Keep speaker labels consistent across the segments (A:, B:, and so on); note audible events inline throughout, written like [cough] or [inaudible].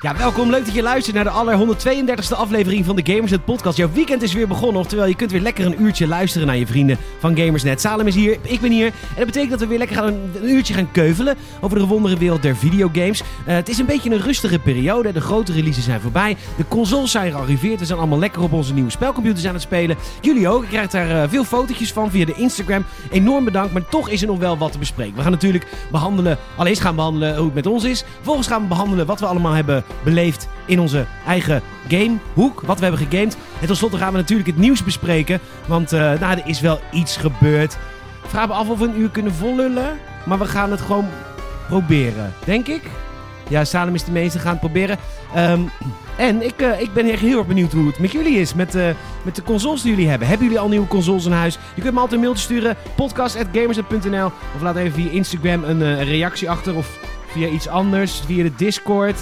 A: Ja, welkom. Leuk dat je luistert naar de aller 132e aflevering van de Gamersnet podcast. Jouw weekend is weer begonnen, oftewel je kunt weer lekker een uurtje luisteren naar je vrienden van Gamersnet. Salem is hier, ik ben hier. En dat betekent dat we weer lekker gaan een, een uurtje gaan keuvelen over de wondere wereld der videogames. Eh, het is een beetje een rustige periode. De grote releases zijn voorbij. De consoles zijn gearriveerd. We zijn allemaal lekker op onze nieuwe spelcomputers aan het spelen. Jullie ook. Ik krijg daar eh, veel fotootjes van via de Instagram. Enorm bedankt, maar toch is er nog wel wat te bespreken. We gaan natuurlijk behandelen, allereerst gaan we behandelen hoe het met ons is. Vervolgens gaan we behandelen wat we allemaal hebben beleefd in onze eigen gamehoek. Wat we hebben gegamed. En tot slot gaan we natuurlijk het nieuws bespreken. Want eh, nou, er is wel iets gebeurd. Ik Vraag me af of we een uur kunnen vollullen. Maar we gaan het gewoon proberen, denk ik. Ja, Salem is de meeste gaan het proberen. Ehm, en ik, eh, ik ben echt heel erg benieuwd hoe het met jullie is. Met, eh, met de consoles die jullie hebben. Hebben jullie al nieuwe consoles in huis? Je kunt me altijd een mailtje sturen. podcast.gamers.nl Of laat even via Instagram een eh, reactie achter. Of via iets anders. Via de Discord.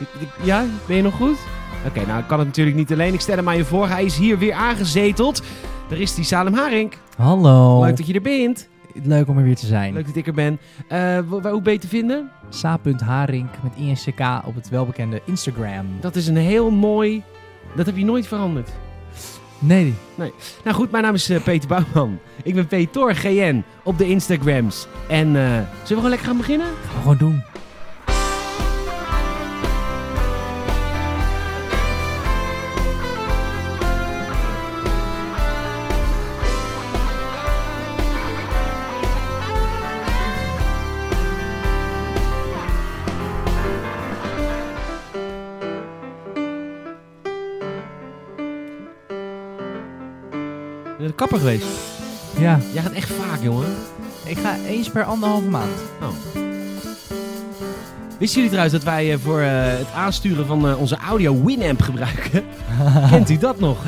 A: Ik- ik- Ja, ben je nog goed? Oké, nou ik kan het natuurlijk niet alleen. Ik stel hem aan je voor. Hij is hier weer aangezeteld. Daar is die Salem Haring.
B: Hallo.
A: Leuk dat je er bent.
B: Leuk om er weer te zijn.
A: Leuk dat ik er ben. Eh, wa- wa- hoe ben je te vinden?
B: Sa.Haring met INCK op het welbekende Instagram.
A: Dat is een heel mooi. Dat heb je nooit veranderd.
B: Nee.
A: Nou goed, mijn naam is eh, Peter Bouwman. Ik ben Peter GN op de Instagrams. En eh, zullen we gewoon lekker gaan beginnen?
B: Gaan we gewoon doen.
A: Ik ben de kapper geweest.
B: Ja.
A: Jij gaat echt vaak, jongen. Oh.
B: Ik ga eens per anderhalve maand.
A: Wisten jullie trouwens dat wij eh, voor eh, het aansturen van eh, onze audio Winamp [laughs] gebruiken? Kent u dat nog?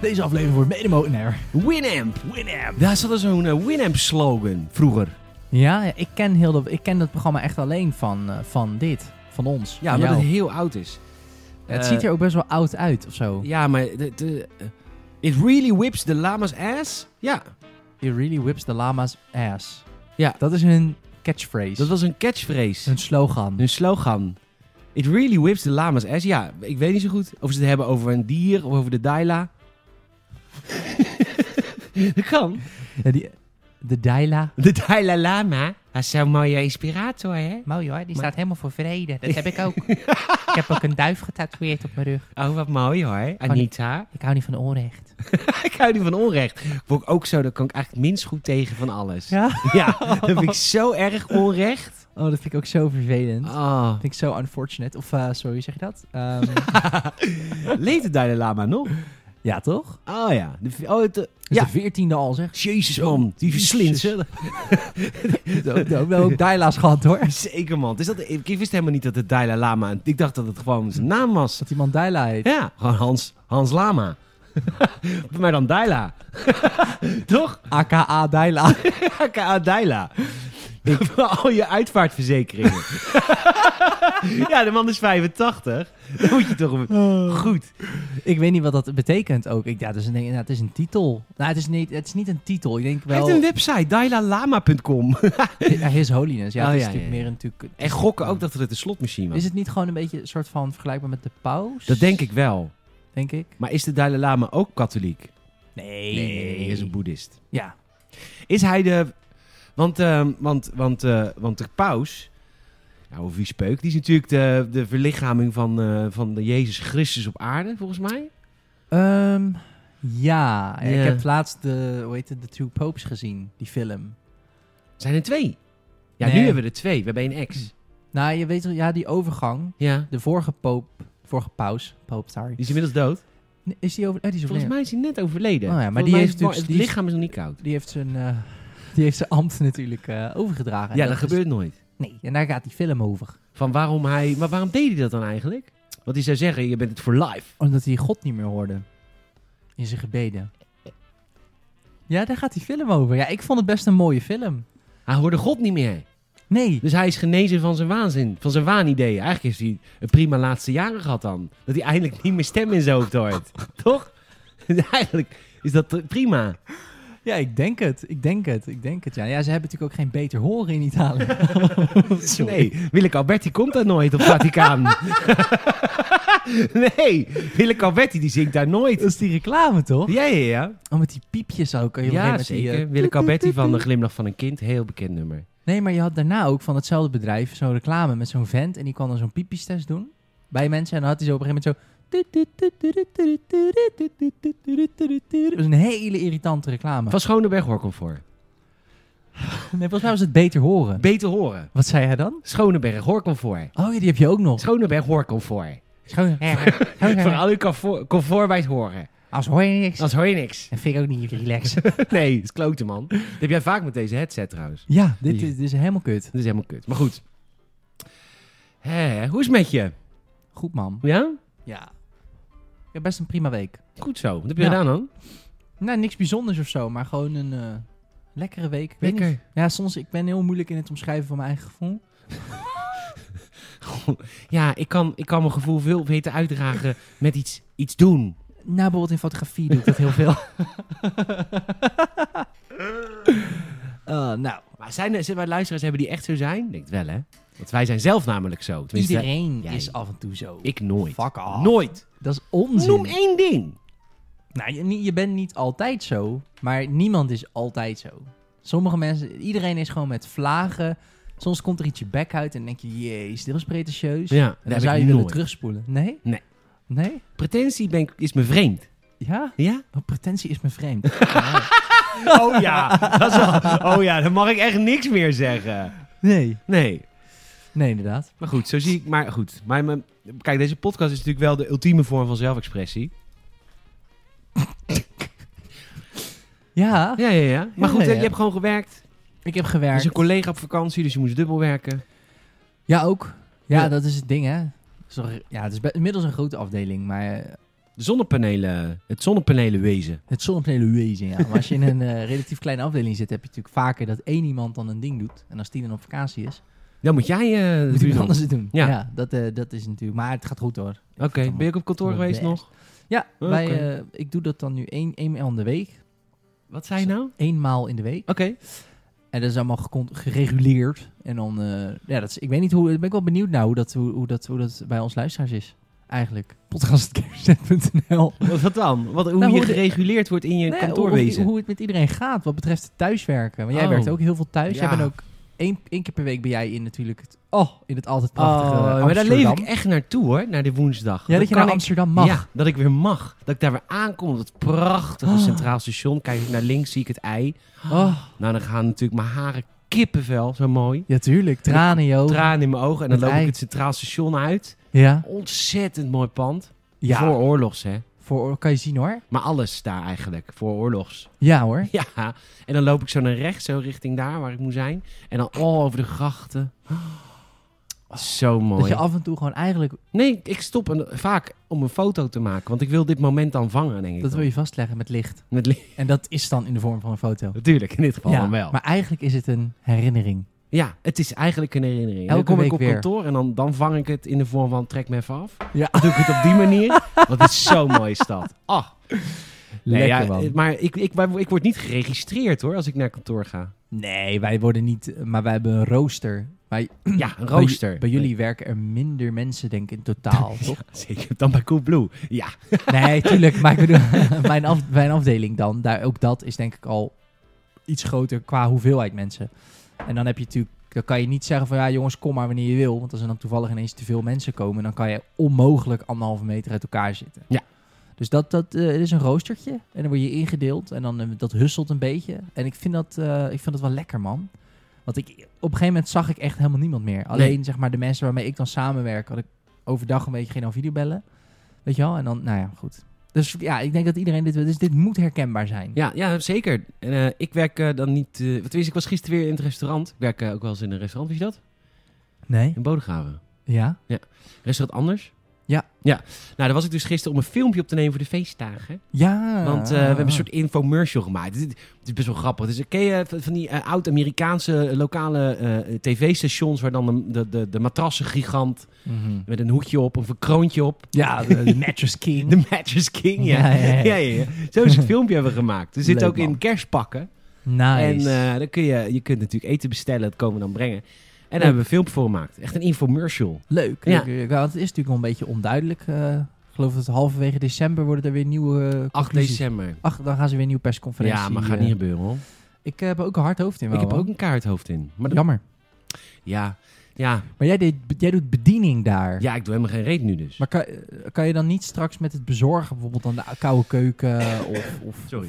B: Deze aflevering wordt mede mogelijk. nee, hoor.
A: Winamp! Winamp! Daar zat er zo'n eh, Winamp-slogan vroeger.
B: Ja, ja, ik ken, heel dat, ik ken dat programma echt alleen van, eh, van dit. Van ons.
A: Ja,
B: van
A: omdat
B: jou.
A: het heel oud is.
B: het
A: eh,
B: ziet er ook best wel oud uit of zo.
A: Ja, maar... de- de- eh, it really whips the lama's ass? Ja.
B: It really whips the lama's ass.
A: Ja.
B: Dat is hun catchphrase.
A: Dat was een catchphrase.
B: hun slogan.
A: Hun slogan. It really whips the lama's ass. Ja, ik weet niet zo goed of ze het hebben over een dier of over de [laughs] Daila. dat kan.
B: Ja, die, de Daila.
A: De Daila Lama. Dat is zo'n mooie inspirator, hè?
B: Mooi hoor, die
A: staat
B: helemaal voor vrede.
A: [laughs]
B: Dat heb ik ook. ik heb ook een duif getatoeëerd op mijn rug.
A: Oh, wat mooi hoor. Anita.
B: Ik hou niet van onrecht.
A: [laughs] ik hou niet van onrecht. Word ik ook zo, daar kan ik eigenlijk het minst goed tegen van alles. Ja,
B: Ja?
A: dat vind ik zo erg onrecht.
B: Oh, dat vind ik ook zo vervelend. Dat
A: Oh.
B: vind ik zo unfortunate. Of, eh, sorry, hoe zeg je dat? Ehm,
A: Leeft de Dalai Lama nog?
B: [laughs] ja, toch?
A: Oh ja. De, oh, het, eh,
B: Dus
A: Ja.
B: de veertiende al, zeg.
A: Jezus man, die
B: Jezus. [laughs]
A: verslinsen.
B: We hebben ook Daila's gehad, hoor.
A: Zeker, man. Dus dat, ik wist helemaal niet dat het Dalai Lama... Ik dacht dat het gewoon zijn naam was.
B: Dat iemand Daila heet.
A: Ja, gewoon Hans, Hans Lama. [laughs] maar dan Daila. [laughs] Toch?
B: AKA Daila.
A: K.A. Daila. Voor al je uitvaartverzekeringen. [laughs] ja, de man is 85. Dan moet je toch... een- Goed.
B: [laughs] ik weet niet wat dat betekent ook. Ik, ja, dat is een, ja, het is een titel. Nou, het is, niet, het is niet een titel. Ik denk
A: Hij
B: wel...
A: heeft een website, dailalama.com.
B: Ja, His Holiness. Ja,
A: Oh,
B: het
A: ja,
B: is natuurlijk
A: ja, ja.
B: meer een... Natuurlijk,
A: En gokken ook dat het een slotmachine was.
B: Is het niet gewoon een beetje een soort van vergelijkbaar met de paus?
A: Dat denk ik wel.
B: Denk ik.
A: Maar is de Dalai Lama ook katholiek?
B: Nee.
A: hij is een boeddhist.
B: Ja.
A: Is hij de. Want, ehm, want, want, eh, want de paus. Nou, of wie speuk, die is natuurlijk de, de verlichaming van, eh, van de Jezus Christus op aarde, volgens mij.
B: Ehm, ja,
A: Ja.
B: ik heb laatst de, hoe heet het, The Two Popes gezien, die film.
A: Zijn er twee? Ja, nu
B: Nee.
A: hebben we er twee. We hebben één ex.
B: Nou, je weet wel, ja, die overgang,
A: Ja.
B: de vorige poop, vorige paus, poop, sorry.
A: Die is inmiddels dood.
B: Nee, Is die over, eh, die is
A: Volgens
B: overleden.
A: mij is hij net overleden.
B: Oh ja, maar
A: Volgens
B: die
A: mij
B: heeft
A: is het,
B: natuurlijk-
A: het
B: die is-
A: lichaam is nog niet koud.
B: Die heeft zijn, eh, [laughs] die heeft zijn ambt natuurlijk eh, overgedragen. En
A: Ja, dat,
B: is-
A: gebeurt nooit.
B: Nee, en daar gaat die film over.
A: Van waarom hij. Maar waarom deed hij dat dan eigenlijk? Want hij zou zeggen: je bent het voor life.
B: Omdat hij God niet meer hoorde. In zijn gebeden. Ja, daar gaat die film over. Ja, ik vond het best een mooie film.
A: Hij hoorde God niet meer.
B: Nee.
A: Dus hij is genezen van zijn waanzin, van zijn waanideeën. Eigenlijk heeft hij een prima laatste jaren gehad dan. Dat hij eindelijk niet meer stem in zijn hoofd hoort. [laughs] Toch? Dus Eigenlijk is dat prima.
B: Ja, ik denk het. Ik denk het. Ik denk het. Ja, ja ze hebben natuurlijk ook geen beter horen in Italië. [laughs] Sorry.
A: Nee, Willeke Alberti komt daar nooit op Vaticaan. nee, Willeke Alberti die zingt daar nooit.
B: Dat is die reclame toch?
A: Ja, ja, ja.
B: Oh, met die piepjes ook. Heel
A: Ja, zeker. Willeke Alberti van De Glimlach van een Kind, heel bekend nummer.
B: eh, Nee, maar je had daarna ook van hetzelfde bedrijf zo'n reclame met zo'n vent. En die kwam dan zo'n piepjestest doen bij mensen. En dan had hij zo op een gegeven moment zo... Dat was een hele irritante reclame.
A: Van Schoneberg Hoorcomfort.
B: Nee, volgens mij was het beter horen.
A: Beter horen.
B: Wat zei hij dan?
A: Schoneberg Hoorcomfort.
B: Oh ja, die heb je ook nog.
A: Schoneberg Hoorcomfort.
B: [laughs] Schoon.
A: Voor al uw comfort, comfort bij het horen.
B: Als hoor je niks.
A: Anders hoor je niks.
B: En vind ik ook niet relaxen.
A: Nee, dat is klote, man. Dat heb jij vaak met deze headset trouwens.
B: Ja, dit is, dit is helemaal kut.
A: Dat is helemaal kut. Maar goed. Hè, hoe is het met je?
B: Goed, man.
A: Ja?
B: Ja. Ik heb best een prima week.
A: Goed zo. Wat heb je
B: Ja.
A: gedaan dan?
B: Nou, niks bijzonders of zo, maar gewoon een eh, lekkere week. Ik weet
A: Lekker.
B: niet. Ja, soms ik ben heel moeilijk in het omschrijven van mijn eigen gevoel.
A: Ja, ik kan, ik kan mijn gevoel veel beter uitdragen met iets, iets doen.
B: Nou, bijvoorbeeld in fotografie doe ik
A: [laughs]
B: dat heel veel. [laughs] Eh, nou,
A: Maar zijn er, zijn er luisteraars hebben die echt zo zijn? Ik denk het wel, hè? Want wij zijn zelf namelijk zo. Tenminste,
B: iedereen
A: jij-
B: is af en toe zo.
A: ik nooit.
B: Fuck off.
A: Nooit.
B: Dat is onzin.
A: Noem één ding.
B: Nou, je, niet- je bent niet altijd zo, maar niemand is altijd zo. Sommige mensen, iedereen is gewoon met vlagen. Soms komt er iets je bek uit en denk je, jeez, dit was pretentieus.
A: Ja, dat
B: en
A: heb
B: dan zou
A: ik
B: je willen
A: nooit.
B: terugspoelen. Nee?
A: Nee.
B: Nee?
A: Pretentie ben ik, is me vreemd.
B: Ja?
A: Ja?
B: Oh, pretentie is me vreemd. [laughs] Ah. Ja.
A: Oh ja, dat is wel- oh ja, dan mag ik echt niks meer zeggen.
B: nee.
A: Nee,
B: Nee, inderdaad.
A: maar goed, zo zie ik. Maar goed, maar, mijn- kijk, deze podcast is natuurlijk wel de ultieme vorm van zelfexpressie.
B: Ja,
A: Ja, ja, Ah. ja. Maar
B: Ja,
A: goed, hè,
B: ja.
A: je hebt gewoon gewerkt.
B: ik heb
A: Er is
B: gewerkt.
A: een collega op vakantie, dus je moest dubbel werken.
B: Ja, ook. Ja,
A: Ja.
B: dat is het ding, hè. Sorry. Ja, het is be- inmiddels een grote afdeling, maar eh,
A: De zonnepanelen, het zonnepanelenwezen.
B: het zonnepanelenwezen, ja. Maar als je in een eh, relatief kleine afdeling zit, heb je natuurlijk vaker dat één iemand dan een ding doet. En als die dan op vakantie is,
A: Dan moet jij eh,
B: moet
A: doen.
B: iemand anders het doen.
A: Ja.
B: Ja, dat, eh, dat is natuurlijk... Maar het gaat goed, hoor.
A: Oké, ben je ook op kantoor
B: allemaal
A: geweest
B: best.
A: nog?
B: Ja,
A: Oké.
B: wij, eh, ik doe dat dan nu één, eenmaal in de week.
A: Wat zei je nou? Oké.
B: Eenmaal in de week. En dat is allemaal gecon- gereguleerd. En dan, eh, ja, dat is, ik weet niet hoe, ik ben wel benieuwd nou hoe dat, hoe, hoe dat, hoe dat bij ons luisteraars is. Eigenlijk. Podcast.nl.
A: [laughs] Wat, wat dan? Wat, hoe
B: Nou,
A: je
B: hoe de-
A: gereguleerd wordt in je kantoorwezen.
B: Hoe, hoe het met iedereen gaat wat betreft het thuiswerken. Want jij
A: Oh.
B: werkt ook heel veel thuis.
A: Ja.
B: Jij bent ook één, één keer per week ben jij in natuurlijk het, oh, in het altijd prachtige
A: Oh, maar daar leef
B: Amsterdam.
A: ik echt naartoe hoor, naar de woensdag.
B: ja, dat je
A: kan
B: naar
A: ik-
B: Amsterdam mag.
A: Ja, dat ik weer mag. Dat ik daar weer aankom op dat prachtige
B: Ah.
A: centraal station. Kijk ik naar links, zie ik het ei.
B: Oh,
A: Nou, dan gaan natuurlijk mijn haren kippenvel, zo mooi.
B: ja, tuurlijk. Tranen, joh.
A: Tranen in mijn ogen. En dan
B: Het
A: loop ik
B: ei.
A: het centraal station uit.
B: ja.
A: Ontzettend mooi pand.
B: Ja.
A: Voor
B: Voor,
A: oorlogs, hè.
B: kan je zien hoor.
A: Maar alles daar eigenlijk, voor oorlogs. [laughs]
B: Ja hoor.
A: Ja, en dan loop ik zo naar rechts, zo richting daar waar ik moet zijn. En dan oh, over de grachten. [gasps] Zo
B: Dat
A: mooi.
B: je af en toe gewoon eigenlijk,
A: Nee, ik stop een- vaak om een foto te maken. Want ik wil dit moment dan vangen, denk ik.
B: dat
A: dan.
B: wil je vastleggen met licht.
A: Met li- [laughs]
B: En dat is dan in de vorm van een foto.
A: Natuurlijk, in dit geval
B: ja,
A: dan wel.
B: Maar eigenlijk is het een herinnering.
A: Ja, het is eigenlijk een herinnering. En dan
B: Elke
A: kom ik
B: week
A: op
B: weer.
A: kantoor en dan, dan vang ik het in de vorm van trek me even af.
B: Ja.
A: Dan doe ik het op die manier. Want het is
B: [laughs]
A: zo'n mooie stad. Ah, nee,
B: Lekker
A: ja, eh,
B: man.
A: Maar ik, ik, maar ik word niet geregistreerd hoor, als ik naar kantoor ga.
B: Nee, wij worden niet, eh, maar wij hebben een rooster. Wij,
A: Ja, een rooster.
B: Bij, bij jullie werken er minder mensen denk ik in
A: [laughs]
B: totaal, toch?
A: Zeker, dan bij Coolblue. Ja,
B: Nee, tuurlijk. Maar ik bedoel, [laughs] mijn, af, mijn afdeling dan, daar, ook dat is denk ik al iets groter qua hoeveelheid mensen. En dan heb je natuurlijk, dan kan je niet zeggen van ja jongens, kom maar wanneer je wil. Want als er dan toevallig ineens te veel mensen komen, dan kan je onmogelijk anderhalve meter uit elkaar zitten.
A: Ja.
B: Dus dat, dat eh, het is een roostertje en dan word je ingedeeld en dan eh, dat husselt een beetje. En ik vind dat, eh, ik vind dat wel lekker man. Want ik, op een gegeven moment zag ik echt helemaal niemand meer. Alleen zeg maar de mensen waarmee ik dan samenwerk, had ik overdag een beetje geen aan videobellen. Weet je wel? En dan, nou ja, goed. Dus ja, ik denk dat iedereen dit... Dus dit moet herkenbaar zijn.
A: ja, ja zeker. En, eh, ik werk eh, dan niet... eh, wat wist ik, was gisteren weer in het restaurant. Ik werk eh, ook wel eens in een restaurant, weet je dat?
B: Nee?
A: In Bodegraven.
B: Ja?
A: Restaurant Anders.
B: Ja.
A: ja. Nou, daar was ik dus gisteren om een filmpje op te nemen voor de feestdagen.
B: Ja. Ah.
A: Want eh, we hebben een soort infomercial gemaakt. Dit, dit is best wel grappig. Dus ken je van van die eh, oud-Amerikaanse eh, lokale eh, tv-stations... waar dan de, de, de, de matrassengigant
B: Mhm.
A: met een hoekje op of een kroontje op... [laughs]
B: Ja, de, [laughs] de Mattress King.
A: De Mattress King, ja.
B: Ja, ja, ja.
A: ja, ja. Zo is het filmpje hebben we gemaakt. Er zit
B: Leuk,
A: ook in
B: man.
A: kerstpakken.
B: Nice.
A: En eh, dan kun je, je kunt natuurlijk eten bestellen, dat komen we dan brengen. En daar hebben we een filmpje voor gemaakt. Echt een infomercial.
B: Leuk.
A: Ja.
B: leuk, leuk. Ja, want het is natuurlijk nog een beetje onduidelijk. eh, ik geloof dat halverwege december worden er weer nieuwe eh,
A: 8
B: conclusies.
A: december.
B: Ach, dan gaan ze weer een nieuwe persconferentie.
A: Ja, maar gaat
B: eh,
A: niet gebeuren hoor.
B: Ik eh, heb ook een hard hoofd in.
A: Ik
B: wel,
A: heb
B: hoor.
A: ook een kaarthoofd in. Maar dat-
B: Jammer.
A: ja, ja,
B: Maar jij, deed, jij doet bediening daar.
A: ja, ik doe helemaal geen reet nu dus.
B: Maar kan, eh, kan je dan niet straks met het bezorgen bijvoorbeeld aan de koude keuken of... of
A: Sorry.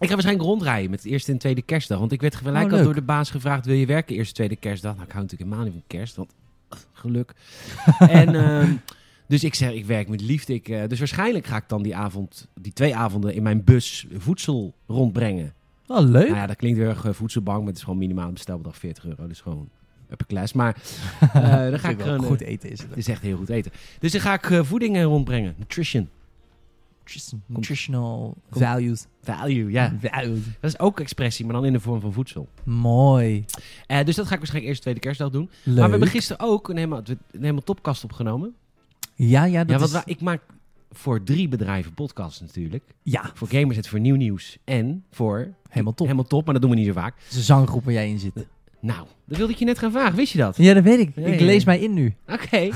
A: Ik ga waarschijnlijk rondrijden met de eerste en tweede kerstdag. Want ik werd gelijk
B: Oh,
A: al
B: leuk.
A: door de baas gevraagd... wil je werken eerste en tweede kerstdag? Nou, ik hou natuurlijk helemaal niet van kerst, want [laughs] ugh,
B: [laughs]
A: geluk. en, ehm, dus ik zeg, ik werk met liefde. Ik, eh, dus waarschijnlijk ga ik dan die avond, die twee avonden... in mijn bus voedsel rondbrengen.
B: Wel Ah, leuk.
A: Nou ja, dat klinkt heel erg eh, voedselbank... maar het is gewoon minimaal bestelbedrag 40 euro. Dus gewoon upper class.
B: [laughs]
A: Maar eh dan ga ik
B: Natuurlijk wel
A: gewoon... eh,
B: goed eten is het.
A: het is echt heel goed eten. Dus dan ga ik eh, voedingen rondbrengen. Nutrition.
B: Nutritional
A: Komt-
B: values.
A: Value, ja.
B: Values.
A: Dat is ook expressie, maar dan in de vorm van voedsel.
B: Mooi.
A: Eh, dus dat ga ik waarschijnlijk eerst de tweede kerstdag doen.
B: Leuk.
A: Maar we hebben gisteren ook een helemaal, een helemaal topkast opgenomen.
B: Ja, ja, dat
A: ja, want
B: is...
A: wa- ik maak voor drie bedrijven podcasts natuurlijk.
B: Ja,
A: Voor Gamers het voor Nieuw Nieuws en voor
B: helemaal top.
A: Helemaal Top, maar dat doen we niet zo vaak.
B: Het is een zanggroep waar jij in zit.
A: Nou, dat wilde ik je net gaan vragen, wist je dat?
B: Ja, dat weet ik.
A: Ja,
B: ik
A: ja,
B: lees
A: ja.
B: mij in nu.
A: Oké. [laughs]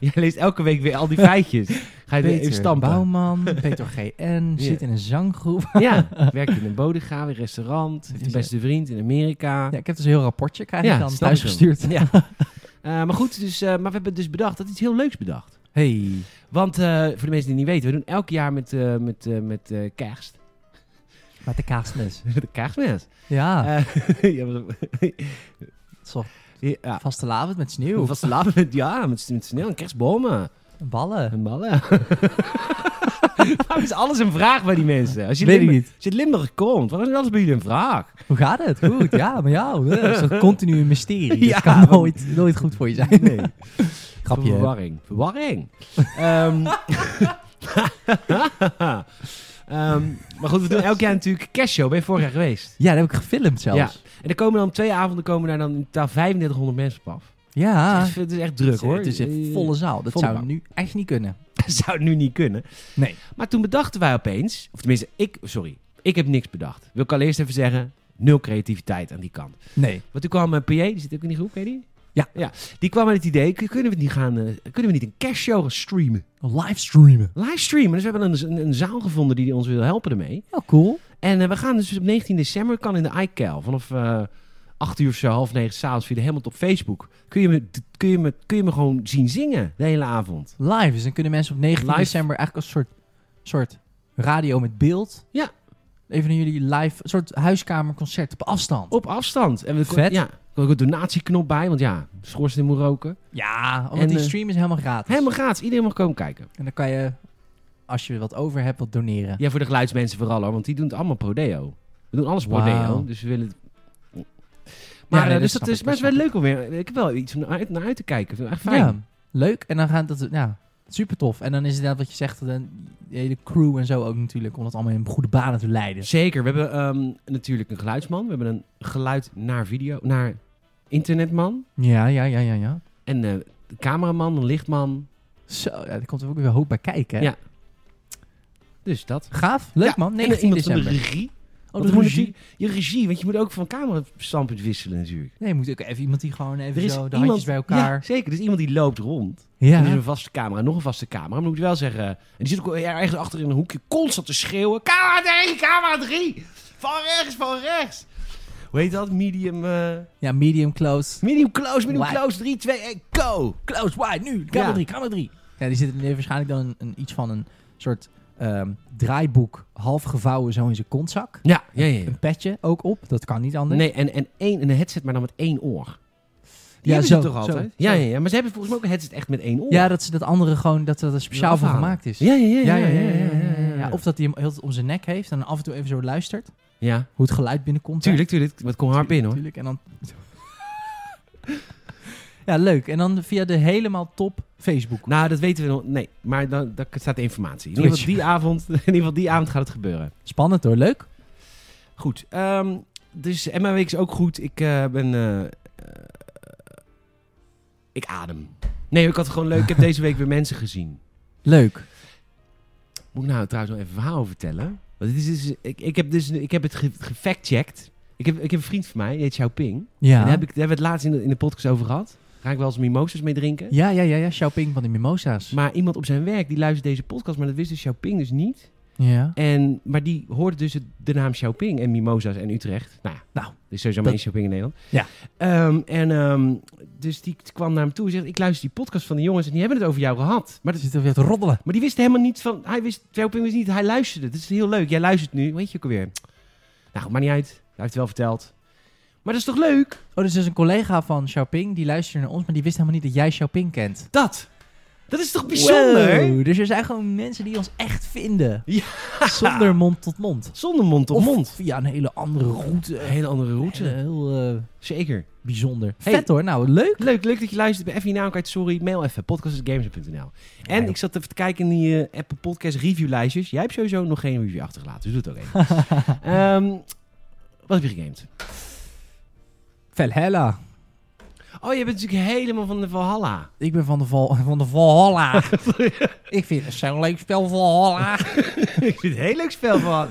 A: Jij leest elke week weer al die feitjes. Ga je weer even
B: Peter
A: stampen.
B: [laughs] Bouwman, Peter GN,
A: Ja.
B: zit in een zanggroep.
A: Ja, werkt in een bodegraaf, een restaurant, heeft een beste vriend in Amerika.
B: Ja, ik heb dus een heel rapportje krijg ik
A: Ja,
B: dan
A: snap
B: thuis
A: ik wel.
B: gestuurd.
A: Ja. Eh, maar goed, dus, eh, maar we hebben dus bedacht, dat is iets heel leuks bedacht.
B: Hey.
A: Want eh, voor de mensen die het niet weten, we doen elk jaar met, eh, met, eh, met eh, kerst. [laughs]
B: Met de kaasnes.
A: de kerstmis.
B: Ja,
A: Eh, [laughs] ja, maar-
B: zo
A: ja,
B: vaste lavend met
A: Hoe
B: sneeuw.
A: was de laatste met, ja, met, met sneeuw en kerstbomen
B: Ballen.
A: en
B: [laughs]
A: ballen. Waarom is alles een vraag bij die mensen? Als je,
B: Weet ik
A: Limburg,
B: niet.
A: als je uit Limburg komt, waarom is alles bij jullie een
B: [laughs]
A: vraag?
B: Hoe gaat het? Goed, ja, maar jou. Dat is [laughs] een continu mysterie.
A: Ja,
B: dat kan
A: want-
B: nooit, nooit goed voor je zijn.
A: Nee.
B: [laughs] Grapje. hè?
A: Verwarring. Verwarring. Ehm, [laughs] Ehm, maar goed, we doen elk jaar natuurlijk kerstshow. Ben je vorig jaar geweest?
B: Ja, dat heb ik gefilmd zelfs.
A: En er komen dan twee avonden komen daar dan in totaal 3500 mensen op af.
B: Ja.
A: Het, is echt, het is echt druk hoor.
B: Ah. Het is een volle zaal. Dat
A: Volle
B: zou
A: bak.
B: nu echt niet kunnen.
A: Dat [laughs] zou nu niet kunnen.
B: Nee.
A: Maar toen bedachten wij opeens, of tenminste ik, sorry, ik heb niks bedacht. Wil ik al eerst even zeggen, nul creativiteit aan die kant.
B: Nee.
A: Want toen kwam eh, PJ, die zit ook in die groep, weet je die?
B: Ja.
A: ja. Die kwam met het idee, kun- kunnen we, het niet gaan, eh, kunnen we niet een kerstshow gaan streamen?
B: Livestreamen.
A: Livestreamen. Dus we hebben een, een, een zaal gevonden die ons wil helpen ermee.
B: Ja, cool.
A: En eh, we gaan dus op 19 december, kan in de iCal, vanaf eh 8 uur of zo, half negen s'avonds, via de helemaal op Facebook. Kun je, me, kun, je me, kun je me gewoon zien zingen de hele avond.
B: Live. Dus dan kunnen mensen op 19
A: Live.
B: december eigenlijk als een soort, soort radio met beeld.
A: Ja.
B: Even naar jullie live, een soort huiskamerconcert op afstand.
A: Op afstand. En we
B: Vet.
A: Ja, er komt ook een donatieknop bij, want ja, schoorsteen moet roken.
B: Ja, want
A: En,
B: die
A: eh,
B: stream is helemaal gratis.
A: Helemaal gratis, iedereen mag komen kijken.
B: En dan kan je, als je wat over hebt, wat doneren.
A: Ja, voor de geluidsmensen vooral hoor, want die doen het allemaal prodeo. We doen alles prodeo,
B: Wauw.
A: dus we willen... het-
B: nee,
A: Maar, eh,
B: dat
A: dus
B: snap
A: dat
B: ik,
A: is
B: dat
A: best wel
B: snap
A: leuk om weer... Ik heb wel iets om naar uit, naar uit te kijken. Ik vind het echt fijn.
B: Ja, leuk. En dan gaat dat, ja, super tof. En dan is inderdaad wat je zegt, dan de hele crew en zo ook natuurlijk, om dat allemaal in goede banen te leiden.
A: Zeker. We hebben ehm, natuurlijk een geluidsman. We hebben een geluid naar video, naar internetman.
B: Ja, ja, ja, ja, ja.
A: En eh, een cameraman, een lichtman.
B: Zo, ja, daar komt er ook weer een hoop bij kijken. hè?
A: Ja. Dus dat.
B: Gaaf, leuk
A: Ja,
B: man.
A: En, eh,
B: 19
A: iemand Van
B: december.
A: de regie.
B: oh,
A: Want
B: de
A: er moet
B: regie.
A: natuurlijk- Je regie, want je moet ook van camerastandpunt wisselen natuurlijk.
B: Nee, moet ook even iemand die gewoon even
A: Er is
B: zo de
A: iemand-
B: handjes bij
A: Ja,
B: elkaar.
A: zeker. Dus iemand die loopt rond.
B: Ja.
A: En er is een vaste camera, nog een vaste camera. Maar moet ik wel zeggen. En die zit ook ergens achter in een hoekje constant te schreeuwen. Camera 3, camera 3. Van rechts, van rechts. Hoe heet dat? Medium... eh,
B: Ja, medium close.
A: Medium close, medium
B: Wide.
A: close. 3, 2, 1, go!
B: Close wide, nu. Kamer
A: Ja.
B: 3, kamer 3. Ja, die zit die heeft waarschijnlijk dan een, een- iets van een soort ehm, draaiboek half gevouwen zo in zijn kontzak.
A: Ja, ja, ja.
B: Een petje ook op, dat kan niet anders.
A: Nee, en, en één, een headset, maar dan met één oor. Die
B: Ja,
A: hebben
B: zo,
A: ze toch
B: zo,
A: altijd?
B: zo.
A: Ja, ja, ja, maar ze hebben volgens mij ook een headset echt met één oor.
B: Ja, dat ze dat andere gewoon, dat dat er speciaal voor
A: Afhalen.
B: gemaakt is.
A: ja, ja,
B: ja, ja, ja, ja, ja,
A: ja,
B: Ja, Of dat hij hem heel de tijd om zijn nek heeft en af en toe even zo luistert.
A: Ja,
B: Hoe het geluid binnenkomt.
A: tuurlijk, tuurlijk. Wat kon hard binnen, hoor.
B: Tuurlijk, en dan... [laughs] Ja, leuk. En dan via de helemaal top Facebook.
A: Nou, dat weten we nog. Nee, maar dan, daar staat de informatie. In ieder, geval die avond, [laughs] in ieder geval die avond gaat het gebeuren.
B: Spannend hoor, leuk.
A: Goed. ehm, dus Emma Week is ook goed. Ik eh, ben... eh, eh, ik adem. Nee, ik had het gewoon leuk. Ik heb deze week weer mensen gezien.
B: Leuk.
A: Moet ik nou trouwens nog even een verhaal vertellen? Want dit is, dus- ik, ik, heb dus, ik heb het ge- gefactcheckt. Ik heb, ik heb een vriend van mij, die heet Xiaoping. En
B: Ja.
A: daar, heb ik, daar hebben we het laatst in de, in de podcast over gehad. Ga ik wel eens mimosas mee drinken.
B: Ja, ja, ja, ja. Xiaoping van de Mimosa's.
A: Maar iemand op zijn werk, die luistert deze podcast, maar dat wist dus Xiaoping dus niet.
B: ja.
A: En, maar die hoorde dus het- de naam Xiaoping en Mimosa's en Utrecht. Nou, ja,
B: Nou,
A: er is sowieso
B: dat-
A: maar één Xiaoping in Nederland.
B: Ja.
A: Ehm, en ehm, dus die kwam naar hem toe en zegt, ik luister die podcast van de jongens en die hebben het over jou gehad. Maar,
B: Ze
A: dat,
B: zitten weer te roddelen.
A: maar die wist helemaal niet van, hij wist, Xiaoping wist niet, hij luisterde. Dat is heel leuk, jij luistert nu, weet je ook alweer. Nou, goed, maakt niet uit, hij heeft het wel verteld. Maar dat is toch leuk?
B: Oh, dus er is een collega van Xiaoping, die luisterde naar ons, maar die wist helemaal niet dat jij Xiaoping kent.
A: Dat! Dat is toch bijzonder?
B: Wow, Dus er zijn gewoon mensen die ons echt [laughs] vinden.
A: Ja.
B: Zonder mond tot mond.
A: Zonder mond tot
B: Of
A: mond.
B: via een hele andere route.
A: Een hele andere route.
B: Hele- heel eh,
A: Zeker.
B: bijzonder.
A: Hey.
B: Vet hoor. Nou, leuk.
A: Leuk, leuk dat je luistert. Ik ben even je naam kwijt. Sorry, mail even. podcast.games.nl En
B: Nee.
A: ik zat even te kijken in die eh, Apple Podcast review lijstjes. Jij hebt sowieso nog geen review achtergelaten, dus doe het ook even. [laughs] Ehm, wat heb je gegamed?
B: Valhalla.
A: Oh, je bent natuurlijk helemaal van de Valhalla.
B: Ik ben van de, val, [laughs] van de Valhalla. ik vind het zo'n leuk spel
A: [laughs]
B: Valhalla.
A: ik vind het een heel leuk spel van.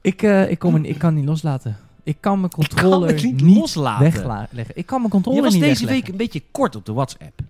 B: ik, eh, ik, kom in, ik kan niet loslaten. Ik kan mijn
A: Ik kan
B: controller
A: het niet
B: niet
A: loslaten.
B: wegleggen. Ik kan mijn
A: Je
B: controller
A: was
B: niet
A: deze
B: wegleggen.
A: week een beetje kort op de WhatsApp.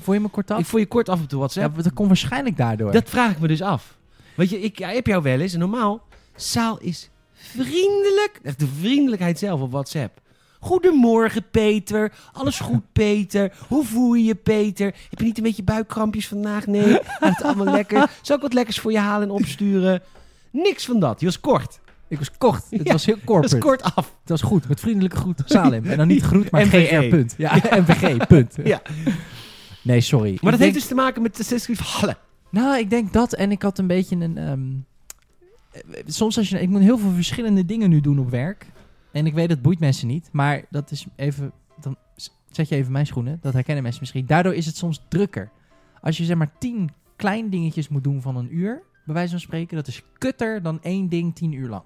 B: Vond je me kort af?
A: Ik voel je kort af op de
B: Ja,
A: WhatsApp.
B: maar dat komt waarschijnlijk daardoor.
A: Dat vraag ik me dus af. Weet je, ik heb jou wel eens. En normaal, Saal is vriendelijk. Echt de vriendelijkheid zelf op WhatsApp. Goedemorgen, Peter. [laughs] Alles goed, Peter. Hoe voel je je, Peter? Heb je niet een beetje buikkrampjes vandaag? Nee, gaat het allemaal lekker? Zal ik wat lekkers voor je halen en opsturen? Niks van dat. Je was kort.
B: Ik was kort. Het
A: Ja,
B: was heel
A: Je was
B: corporate.
A: kort af.
B: Het was goed. Met vriendelijke groet. Salem. En dan
A: [laughs]
B: niet groet, maar
A: NVG.
B: GR. Punt. Ja, [laughs] NVG. Punt.
A: Ja.
B: Nee, sorry. Ik
A: Maar dat
B: denk-
A: heeft dus te maken met de Assassin's Creed Valhalla.
B: Nou, ik denk dat. En ik had een beetje een. ehm, eh, soms als je. Ik moet heel veel verschillende dingen nu doen op werk. En ik weet dat boeit mensen niet. Maar dat is even. Dan s- zet je even mijn schoenen. Dat herkennen mensen misschien. Daardoor is het soms drukker. Als je zeg maar tien klein dingetjes moet doen van een uur. Bij wijze van spreken. Dat is kutter dan één ding tien uur lang.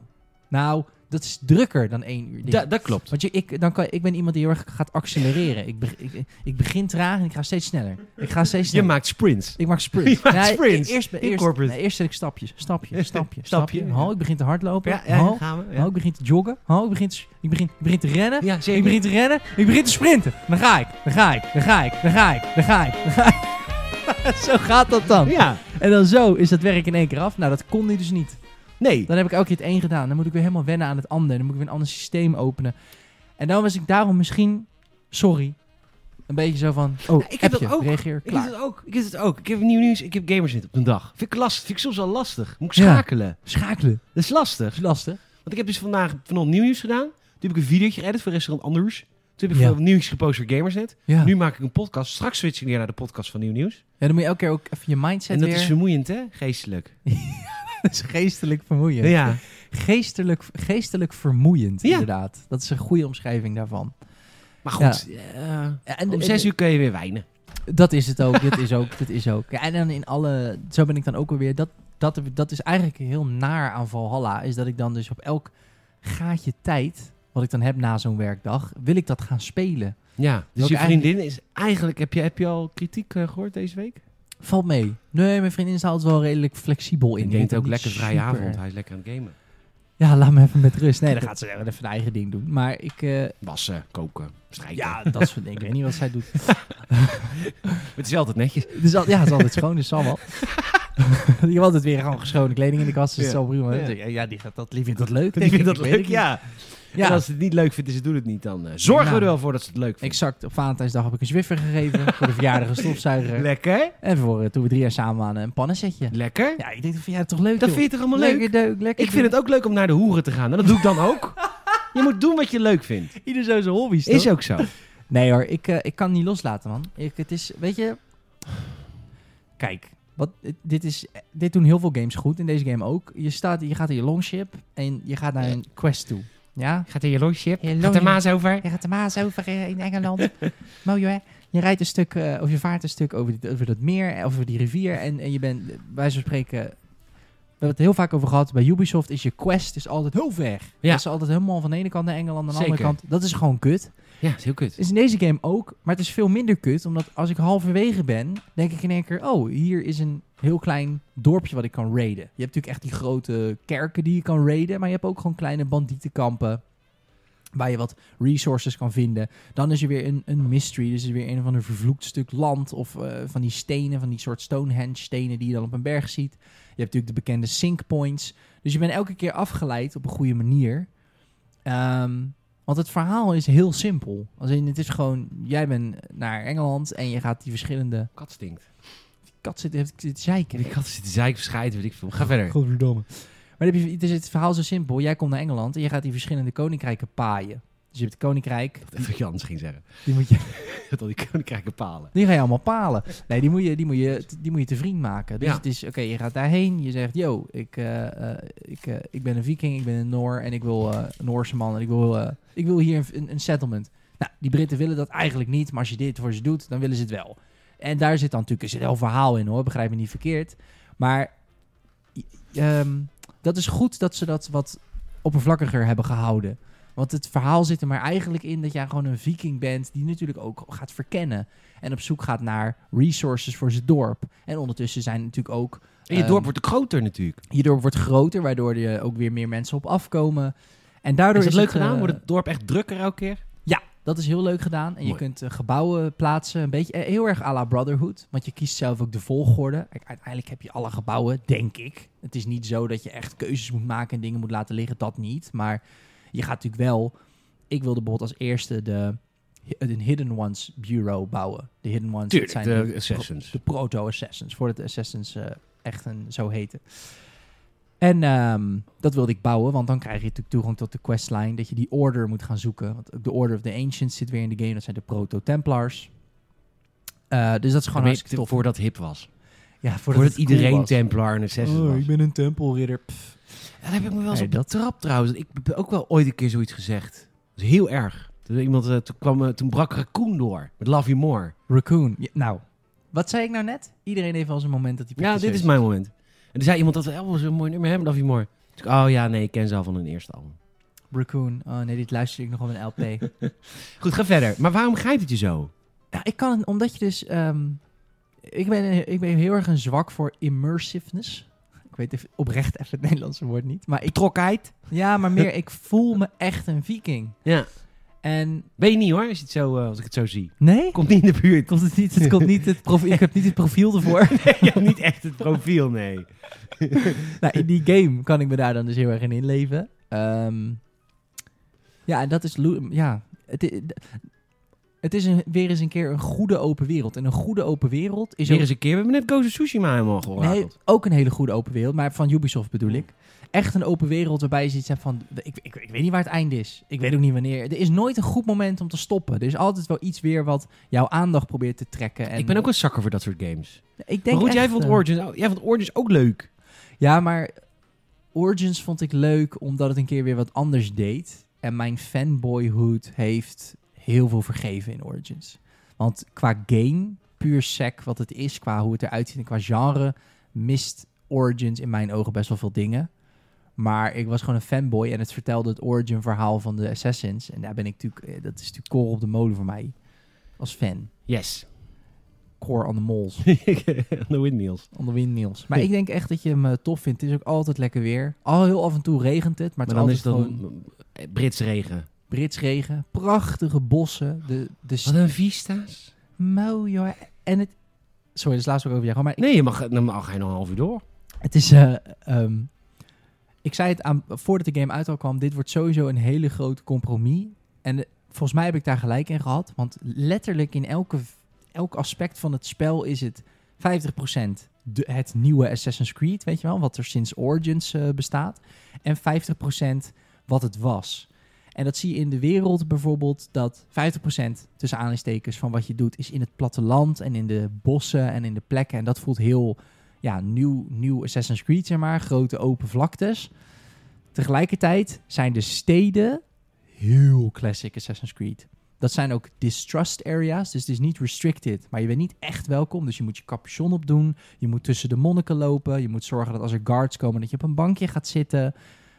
B: Nou, dat is drukker dan één uur. ding.
A: Da- dat klopt.
B: Want je, ik, dan kan, ik ben iemand die heel erg gaat accelereren. Ik, be- ik, ik begin traag en ik ga steeds sneller. Ik ga steeds
A: Je
B: sneller.
A: maakt sprints.
B: Ik
A: [laughs]
B: maak
A: Je
B: sprints.
A: maakt
B: Nee,
A: sprints.
B: e-, Eerst, eerst,
A: In corporate.
B: nee, eerst zet ik stapjes.
A: [laughs]
B: Stapje, stapje,
A: Stapje,
B: stapje.
A: ja.
B: Ho, ik begin te hardlopen.
A: Ja,
B: Ja,
A: ja,
B: ho,
A: gaan we.
B: ho,
A: Ja,
B: ik begin te joggen. Ho, ik begin te, s- ik begin, ik begin te rennen.
A: ja
B: Ik
A: zeker.
B: begin te rennen. Ik begin te sprinten. Dan ga ik, dan ga ik, dan ga ik, dan ga ik, dan ga ik. Dan ga ik. [laughs] zo gaat dat dan.
A: Ja,
B: En dan zo is dat werk in één keer af. Nou, dat kon nu dus niet.
A: nee.
B: Dan heb ik elke keer het één gedaan. Dan moet ik weer helemaal wennen aan het ander. Dan moet ik weer een ander systeem openen. En dan was ik daarom misschien, sorry, een beetje zo van, oh,
A: ik heb
B: appje,
A: dat ook.
B: reageer,
A: Ik heb
B: klaar.
A: het ook. Ik heb het ook. Ik heb nieuw nieuws. Ik heb gamers op een dag. Vind ik lastig. Vind ik soms wel lastig. Moet ik
B: Ja.
A: schakelen.
B: Schakelen,
A: Dat is
B: dat
A: lastig.
B: is lastig.
A: Want ik heb dus vandaag vanochtend nieuw nieuws gedaan. Toen heb ik een videootje geëdit voor restaurant Anders. Toen heb ik
B: Ja.
A: veel nieuws gepost voor Gamersnet.
B: Ja.
A: Nu maak ik een podcast. Straks switch ik weer naar de podcast van Nieuw Nieuws.
B: ja, dan moet je elke keer ook even je mindset
A: en dat
B: weer...
A: is vermoeiend, hè? Geestelijk.
B: [laughs] dat is geestelijk vermoeiend.
A: Ja.
B: Geestelijk, geestelijk vermoeiend,
A: Ja.
B: inderdaad. Dat is een goede omschrijving daarvan.
A: Maar goed, eh,
B: En
A: om zes uur kun je weer wijnen.
B: Dat is het ook, dat is ook, dat is ook. Ja, en dan in alle... Zo ben ik dan ook alweer... Dat, dat, dat is eigenlijk heel naar aan Valhalla. Is dat ik dan dus op elk gaatje tijd... Wat ik dan heb na zo'n werkdag... Wil ik dat gaan spelen.
A: Ja. Dus
B: Ook
A: je vriendin is eigenlijk... Heb je, heb je al kritiek eh, gehoord deze week?
B: Oh, Valt mee. Nee, mijn vriendin is daar altijd wel redelijk flexibel in.
A: Ik
B: Vindt
A: denk
B: dat
A: ook
B: niet
A: lekker vrije
B: super-
A: avond. Hij is lekker aan het gamen.
B: Ja, laat me even met rust. Nee, dan gaat ze wel even haar eigen ding doen. Maar ik... eh,
A: Wassen, koken, strijken.
B: Ja, dat soort dingen. Ik weet niet wat zij doet.
A: Het is altijd
B: [laughs]
A: netjes.
B: Het is al, ja, het is altijd schoon, dus zal wel. [laughs] Je hebt altijd weer gewoon geschone kleding in de kast, dus het
A: Ja.
B: zal prima.
A: Ja.
B: Ja, ja, die, gaat dat, die vindt dat leuk.
A: Ik
B: denk
A: vind
B: ik.
A: dat
B: Ik weet
A: leuk,
B: het niet.
A: ja.
B: Ja,
A: En als ze het niet leuk vinden, ze doen het niet, dan eh, zorgen we
B: Nou.
A: er wel voor dat ze het leuk vinden.
B: exact. Op Valentijnsdag heb ik een Zwiffer gegeven voor de [laughs] verjaardag een stofzuiger.
A: Lekker,
B: en voor eh, toen we drie jaar samen waren een pannensetje.
A: lekker.
B: Ja, ik denk van ja, toch leuk
A: Dat
B: joh.
A: vind je toch allemaal leuk?
B: Lekker, leuk, lekker.
A: Ik vind het ook leuk om naar de hoeren te gaan. En dat doe ik dan [laughs] ook. Je moet doen wat je leuk vindt.
B: Ieder zo zijn hobby's, toch?
A: Is ook zo.
B: Nee hoor, ik, eh, ik kan niet loslaten, man. Ik, het is, weet je... Kijk, wat, dit, is, dit doen heel veel games goed, in deze game ook. Je, staat, je gaat in je longship en je gaat naar een quest toe. Ja.
A: Gaat er je lordship?
B: Je
A: Gaat de
B: lordship.
A: Maas over?
B: Je gaat de Maas over eh, in [laughs] Engeland. Mooi hoor. Je rijdt een stuk, eh, of je vaart een stuk over, dit- over dat meer, eh, over die rivier. En, en je bent, bij wijze van spreken, we hebben het heel vaak over gehad. Bij Ubisoft is je quest is altijd heel ver.
A: Ja.
B: Dat is altijd helemaal van de ene kant naar Engeland, aan de andere
A: Zeker.
B: kant. Dat is gewoon kut.
A: Ja, is heel kut.
B: Het is in deze game ook, maar het is veel minder kut. Omdat als ik halverwege ben, denk ik in één keer... Oh, hier is een heel klein dorpje wat ik kan raiden. Je hebt natuurlijk echt die grote kerken die je kan raiden. Maar je hebt ook gewoon kleine bandietenkampen. Waar je wat resources kan vinden. Dan is er weer een, een mystery. Dus er is weer een of ander vervloekt stuk land. Of eh, van die stenen, van die soort Stonehenge stenen die je dan op een berg ziet. Je hebt natuurlijk de bekende sink points. Dus je bent elke keer afgeleid op een goede manier. Ehm, want het verhaal is heel simpel. Als in, het is gewoon, jij bent naar Engeland en je gaat die verschillende...
A: Kat stinkt.
B: Die kat zit, heeft zit zeiken.
A: Die kat zit te zeiken, verschijten, weet ik veel. Ga verder.
B: Godverdomme. Maar dan heb je, het, is het verhaal zo simpel. Jij komt naar Engeland en je gaat die verschillende koninkrijken paaien. Dus je hebt het koninkrijk,
A: Dat wil je anders ging [laughs] zeggen.
B: die moet je
A: Dat al die koninkrijken palen.
B: Die ga je allemaal palen. Nee, die moet je, die moet je, die moet je te vriend maken. Dus
A: Ja.
B: het is, oké, je gaat daarheen. Je zegt, yo, ik, eh, eh, ik, eh, ik ben een viking, ik ben een Noor en ik wil eh, een Noorse man. En ik wil, eh, ik wil hier een, een, een settlement. Nou, die Britten willen dat eigenlijk niet. Maar als je dit voor ze doet, dan willen ze het wel. En daar zit dan natuurlijk een heel verhaal in hoor. Begrijp me niet verkeerd. Maar ehm, dat is goed dat ze dat wat oppervlakkiger hebben gehouden. Want het verhaal zit er maar eigenlijk in dat jij gewoon een viking bent... die natuurlijk ook gaat verkennen en op zoek gaat naar resources voor zijn dorp. En ondertussen zijn natuurlijk ook...
A: En je
B: Ehm,
A: dorp wordt ook groter natuurlijk.
B: Je dorp wordt groter, waardoor er ook weer meer mensen op afkomen. En daardoor
A: Is
B: is,
A: dat leuk
B: het,
A: gedaan?
B: eh,
A: Wordt het dorp echt drukker elke keer?
B: Ja, dat is heel leuk gedaan. En je
A: Mooi.
B: kunt eh, gebouwen plaatsen, een beetje eh, heel erg à la Brotherhood. Want je kiest zelf ook de volgorde. Kijk, Uiteindelijk heb je alle gebouwen, denk ik. Het is niet zo dat je echt keuzes moet maken en dingen moet laten liggen. Dat niet. Maar je gaat natuurlijk wel... Ik wilde bijvoorbeeld als eerste de, de Hidden Ones Bureau bouwen. De Hidden Ones dat zijn
A: de
B: de-
A: Assassins.
B: de proto-assassins, voordat de assassins eh, echt een, zo heten. En ehm, dat wilde ik bouwen, want dan krijg je natuurlijk toegang tot de questline, dat je die order moet gaan zoeken. Want ook de Order of the Ancients zit weer in de game, dat zijn de proto-templars. Eh, dus dat is gewoon hartstikke tof.
A: Voordat hip was.
B: Ja, voordat,
A: Voordat iedereen
B: tempel.
A: Templar en Assassin was.
B: Oh, ben een tempelridder.
A: Ja, daar heb ik me wel eens
B: Nee,
A: op
B: dat-
A: betrapt trouwens. Ik heb ook wel ooit een keer zoiets gezegd. Dat is heel erg. Toen, iemand, eh, toen, kwam, eh, toen brak Raccoon door met Love You More.
B: Raccoon. Ja, nou, wat zei ik nou net? Iedereen heeft wel zijn moment dat hij
A: Ja, dit
B: pretentieus
A: is mijn moment. En toen zei iemand dat we oh, zo'n mooi nummer hebben, Love You More. Toen ik, oh ja, nee, ik ken ze al van hun eerste album.
B: Raccoon. Oh nee, dit luister ik nog op een LP.
A: Goed, ga verder. Maar waarom grijpt het je zo?
B: Ja, Nou, ik kan, omdat je dus... ehm, ik, ben, ik ben heel erg een zwak voor immersiveness. Ik weet even, oprecht even het Nederlandse woord niet. Maar ik,
A: Betrokkenheid?
B: ja, maar meer, ik voel me echt een viking.
A: Ja.
B: En
A: Weet je niet hoor, als, je het zo, eh, als ik het zo zie.
B: nee,
A: Komt niet in de
B: [laughs]
A: buurt.
B: komt het niet, het komt niet het profiel, ik heb niet het profiel [laughs] ervoor.
A: Je hebt niet echt het profiel, nee.
B: nou, in die game kan ik me daar dan dus heel erg in inleven. Ehm, ja, en dat is... lo- Ja, het, i- d- het is een, weer eens een keer een goede open wereld. En een goede open wereld is
A: Hier
B: ook
A: eens een keer, we hebben net Gozo Tsushima helemaal gehoord.
B: Nee, ook een hele goede open wereld, maar van Ubisoft bedoel ik. Echt een open wereld waarbij je zoiets hebt van... Ik, ik, ik weet niet waar het einde is. Ik weet ook niet wanneer. Er is nooit een goed moment om te stoppen. Er is altijd wel iets weer wat jouw aandacht probeert te trekken. En
A: Ik ben ook een zakker voor dat soort games.
B: Ik denk
A: Maar goed, jij
B: echt,
A: vond,
B: eh,
A: Origins, oh, jij vond Origins ook leuk.
B: Ja, maar Origins vond ik leuk omdat het een keer weer wat anders deed. En mijn fanboyhood heeft heel veel vergeven in Origins. Want qua game, puur sec wat het is, qua hoe het eruit ziet en qua genre, mist Origins in mijn ogen best wel veel dingen. Maar ik was gewoon een fanboy en het vertelde het Origin-verhaal van de Assassins. En daar ben ik natuurlijk, eh, dat is natuurlijk kool op de molen voor mij. Als fan. [laughs]
A: Yes. [laughs]
B: Core on the moles.
A: The Windmills.
B: On the windmills. Maar ik denk echt dat je hem eh, tof vindt. Het is ook altijd lekker weer. Al heel af en toe regent het, maar
A: Maar
B: het
A: dan is
B: is
A: het
B: altijd
A: dan
B: gewoon
A: eh, Brits regen.
B: Brits regen. Prachtige bossen. De, de
A: Wat
B: st-
A: een vista's.
B: mooi hoor. En het... Sorry, dat is laatst ook over jou. Maar ik-
A: Nee, je mag, dan mag hij nog een half uur door.
B: het is... eh, ehm, ik zei het aan, voordat de game uit al kwam. Dit wordt sowieso een hele groot compromis. En eh, volgens mij heb ik daar gelijk in gehad. Want letterlijk in elke, elk aspect van het spel is het 50% de, het nieuwe Assassin's Creed, weet je wel, wat er sinds Origins eh, bestaat. En 50% wat het was. En dat zie je in de wereld bijvoorbeeld, dat 50% tussen aanhalingstekens van wat je doet is in het platteland en in de bossen en in de plekken. En dat voelt heel ja, nieuw, nieuw Assassin's Creed, zeg maar, grote open vlaktes. Tegelijkertijd zijn de steden heel classic Assassin's Creed. Dat zijn ook distrust areas, dus het is niet restricted. Maar je bent niet echt welkom, dus je moet je capuchon opdoen. Je moet tussen de monniken lopen. Je moet zorgen dat als er guards komen, dat je op een bankje gaat zitten.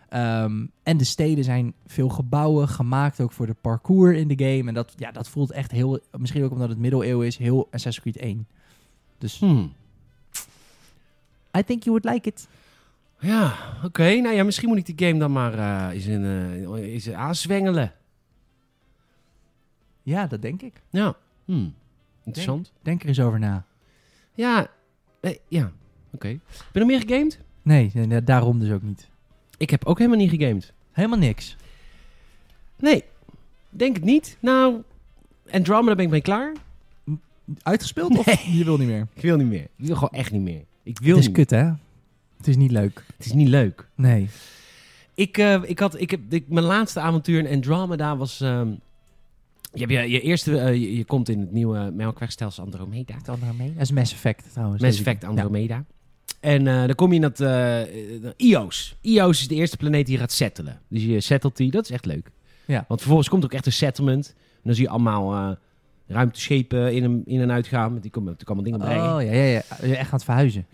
B: Ehm, en de steden zijn veel gebouwen gemaakt, ook voor de parcours in de game. En dat, ja, dat voelt echt heel, misschien ook omdat het middeleeuwen is, heel Assassin's Creed 1. Dus
A: Hmm.
B: I think you would like it.
A: Ja, oké. Nou ja, misschien moet ik die game dan maar eh, eens, in, eh, eens aanzwengelen.
B: Ja, dat denk ik.
A: Ja. Hmm. Interessant.
B: Denk er eens over na.
A: Ja. Eh, ja. Oké. Heb je nog meer gegamed?
B: Nee, nee, nee, daarom dus ook niet.
A: Ik heb ook helemaal niet gegamed.
B: Helemaal niks.
A: Nee. Denk het niet. Nou, Andromeda ben ik mee klaar.
B: Uitgespeeld of je wil niet meer?
A: Ik wil niet meer. Ik wil gewoon echt niet meer. Ik wil
B: [laughs] Het is
A: niet meer.
B: kut, hè? Het is niet leuk.
A: Het is niet leuk.
B: Nee.
A: Ik, eh, ik had, ik heb, ik- mijn laatste avontuur in Andromeda was... ehm, je, hebt je, je eerste, eh, je, je komt in het nieuwe melkwegstelsel Andromeda.
B: Het andere mee. Dat is Mass Effect trouwens.
A: nou Mass
B: deze
A: Effect
B: keer. Ja.
A: Andromeda. En eh, dan kom je in dat eh, eh, Ios. Ios is de eerste planeet die je gaat settelen. Dus je settelt die, dat is echt leuk.
B: Ja.
A: Want vervolgens komt ook echt een settlement. En dan zie je allemaal eh, ruimteschepen in, en- in en uit gaan. Want Die komen natuurlijk allemaal dingen brengen.
B: Oh, ja, ja, ja. Je bent echt aan het verhuizen.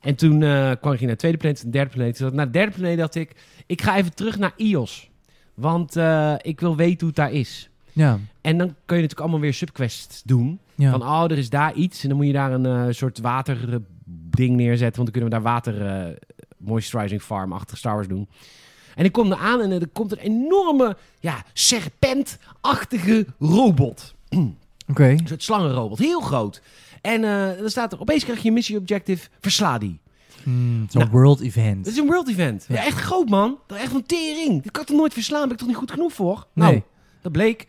A: En toen eh, kwam ik naar de tweede planeet, de derde planeet. Toen dacht ik, naar de derde planeet dacht ik, ik ga even terug naar Ios. Want eh, ik wil weten hoe het daar is.
B: Ja.
A: En dan kun je natuurlijk allemaal weer subquests doen.
B: ja.
A: Van, oh, er is daar iets. En dan moet je daar een eh, soort waterding neerzetten. Want dan kunnen we daar water eh, moisturizing farm achter Star Wars doen. En ik kom er aan en eh, er komt een enorme, ja, serpentachtige robot.
B: Oké.
A: Een soort slangenrobot. Heel groot. En eh, dan staat er, opeens krijg je een missie objective, versla die.
B: Hmm, het is een
A: Nou. [laughs]
B: world
A: Het
B: event.
A: is een world event.
B: Ja.
A: Ja, echt groot, man. Dat echt van tering. Dit kan ik toch nooit verslaan? Ben ik toch niet goed genoeg voor? Nou,
B: Nee.
A: dat bleek.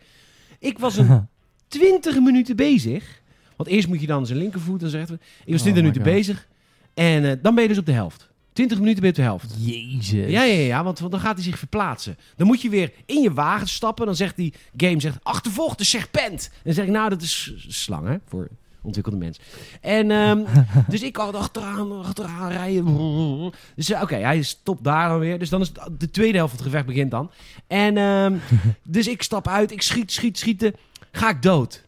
A: Ik was
B: [laughs]
A: een 20 minuten bezig. Want eerst moet je dan zijn linkervoet en zijn rechtervoet. Ik was
B: Oh
A: 20
B: my
A: minuten
B: God.
A: bezig. En eh, dan ben je dus op de helft. 20 minuten ben je op de helft.
B: Jezus.
A: Ja, ja, ja, ja, want, want dan gaat hij zich verplaatsen. Dan moet je weer in je wagen stappen. Dan zegt die game, zegt, achtervolg de serpent. En dan zeg ik, nou, dat is s- slang, hè, voor ontwikkelde mensen. En ehm, [laughs] dus ik had achteraan, achteraan rijden. Dus eh, oké, hij stopt daar dan weer. Dus dan is het- de tweede helft van het gevecht begint dan. En ehm, dus ik stap uit, ik schiet, schiet, schieten. Ga ik dood.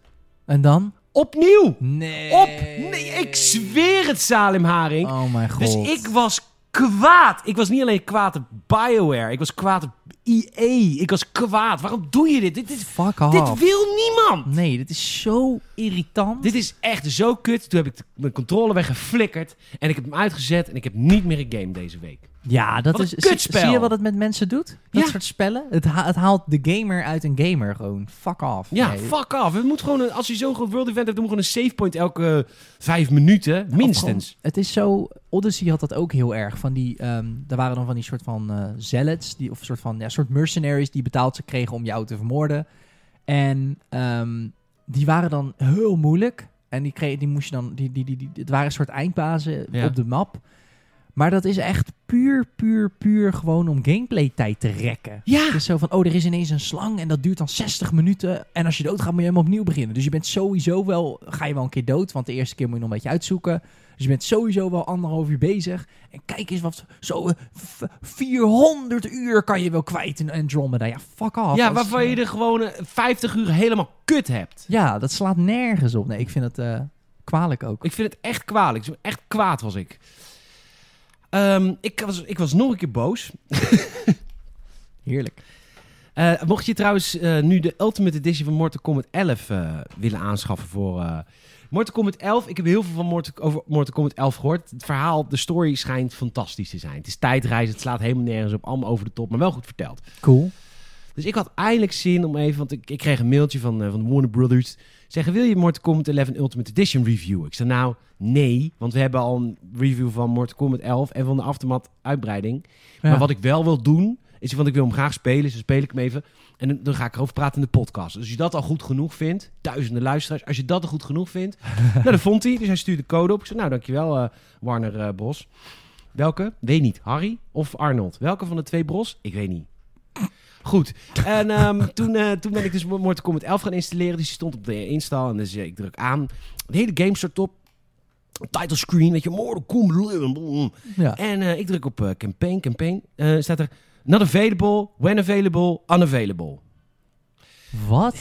B: En dan?
A: Opnieuw.
B: Nee.
A: Op. Nee, ik zweer het, Salim Haring.
B: Oh mijn god.
A: Dus ik was kwaad. Ik was niet alleen kwaad op BioWare. Ik was kwaad op EA. Ik was kwaad. Waarom doe je dit? Dit, is,
B: Fuck off.
A: dit wil niemand.
B: Nee, dit is zo irritant.
A: Dit is echt zo kut. Toen heb ik de- mijn controle weggeflikkerd. En ik heb hem uitgezet. En ik heb niet meer een game deze week.
B: Ja, dat
A: Wat
B: is...
A: een
B: zie-
A: kutspel.
B: Zie je wat het met mensen doet? Dat
A: Ja.
B: soort spellen? Het, ha- het haalt de gamer uit een gamer gewoon. Fuck off.
A: Ja,
B: Nee. Nou,
A: fuck off. Het moet gewoon een, als je zo'n groot world event hebt, dan moet gewoon een save point elke eh, vijf minuten.
B: Of
A: Minstens.
B: gewoon- het is zo. Odyssey had dat ook heel erg. Van die, ehm er waren dan van die soort van eh zealots, die, of soort van ja, soort mercenaries die betaald ze kregen om jou te vermoorden. En ehm, die waren dan heel moeilijk. En die, kreeg, die moest je dan. Die, die, die, die- het waren een soort eindbazen
A: Ja.
B: op de map. Maar dat is echt puur, puur, puur gewoon om gameplay tijd te rekken.
A: Ja.
B: Het is zo van, oh, er is ineens een slang en dat duurt dan 60 minuten. En als je doodgaat, moet je helemaal opnieuw beginnen. Dus je bent sowieso wel, ga je wel een keer dood, want de eerste keer moet je nog een beetje uitzoeken. Dus je bent sowieso wel anderhalf uur bezig. En kijk eens wat, zo eh, v- 400 uur kan je wel kwijt in Andromeda. Ja, fuck off.
A: Ja,
B: Dat is,
A: waarvan je
B: eh,
A: er gewoon eh, 50 uur helemaal kut hebt.
B: Ja, dat slaat nergens op. Nee, ik vind het eh, kwalijk ook.
A: Ik vind het echt kwalijk. Ik was Echt kwaad was ik. Ehm, ik, was, ik was nog een keer boos.
B: Heerlijk.
A: Eh, mocht je trouwens eh, nu de Ultimate Edition van Mortal Kombat 11 eh, willen aanschaffen voor... eh, Mortal Kombat 11, ik heb heel veel van Mortal, over Mortal Kombat 11 gehoord. Het verhaal, de story schijnt fantastisch te zijn. Het is tijdreizen, het slaat helemaal nergens op. Allemaal over de top, maar wel goed verteld.
B: Cool.
A: Dus ik had eindelijk zin om even, want ik, ik kreeg een mailtje van, eh, van Warner Brothers. Zeggen, wil je Mortal Kombat 11 Ultimate Edition reviewen? Ik zei, nou, nee. Want we hebben al een review van Mortal Kombat 11 en van de Aftermath uitbreiding.
B: Ja.
A: Maar wat ik wel wil doen, is want ik wil hem graag spelen. Dus dan speel ik hem even. En dan, dan ga ik erover praten in de podcast. Dus als je dat al goed genoeg vindt, duizenden luisteraars. Als je dat al goed genoeg vindt, nou, dat vond hij. Dus hij stuurde code op. Ik zei, nou, dankjewel eh, Warner eh, Bos. Welke? Weet niet. Harry of Arnold? Welke van de twee Bros? Ik weet niet. Goed. En ehm, toen, eh, toen ben ik dus Mortal Kombat 11 gaan installeren. Dus die stond op de install. En dus eh, ik druk aan. De hele game start op. Title screen, weet je, Mortal Kombat.
B: Ja.
A: En eh, ik druk op eh, campaign, campaign. Eh, staat er, not available, when available, unavailable.
B: Wat?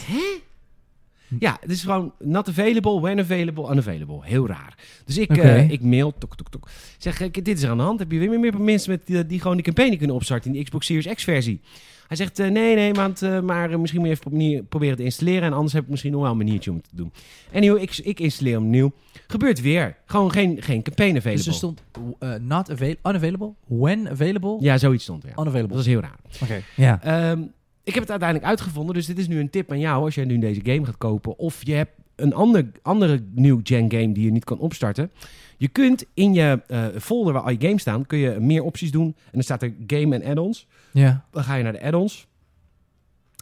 A: Ja, het is gewoon not available, when available, unavailable. Heel raar. Dus ik,
B: Oké.
A: eh, ik mail, tok, tok, tok. Zeg, ik, dit is er aan de hand. Heb je weer meer mensen met, die, die gewoon die campagne kunnen opstarten in die Xbox Series X versie? Hij zegt, eh, nee, nee, want, eh, maar eh, misschien moet je even manier- proberen te installeren. En anders heb ik misschien nog wel een maniertje om het te doen. Anyway, ik, ik installeer hem nieuw. Gebeurt weer. Gewoon geen, geen campaign available.
B: Dus er stond eh, not avail- unavailable, when available,
A: Ja, zoiets stond er. ja. Dat
B: unavailable.
A: was heel raar.
B: Oké. Ja.
A: Ehm, ik heb het uiteindelijk uitgevonden, dus dit is nu een tip aan jou als jij nu deze game gaat kopen. Of je hebt een ander, andere new gen game die je niet kan opstarten. Je kunt in je eh, folder waar al je games staan, kun je meer opties doen. En dan staat er game en add-ons.
B: Ja.
A: Dan ga je naar de add-ons.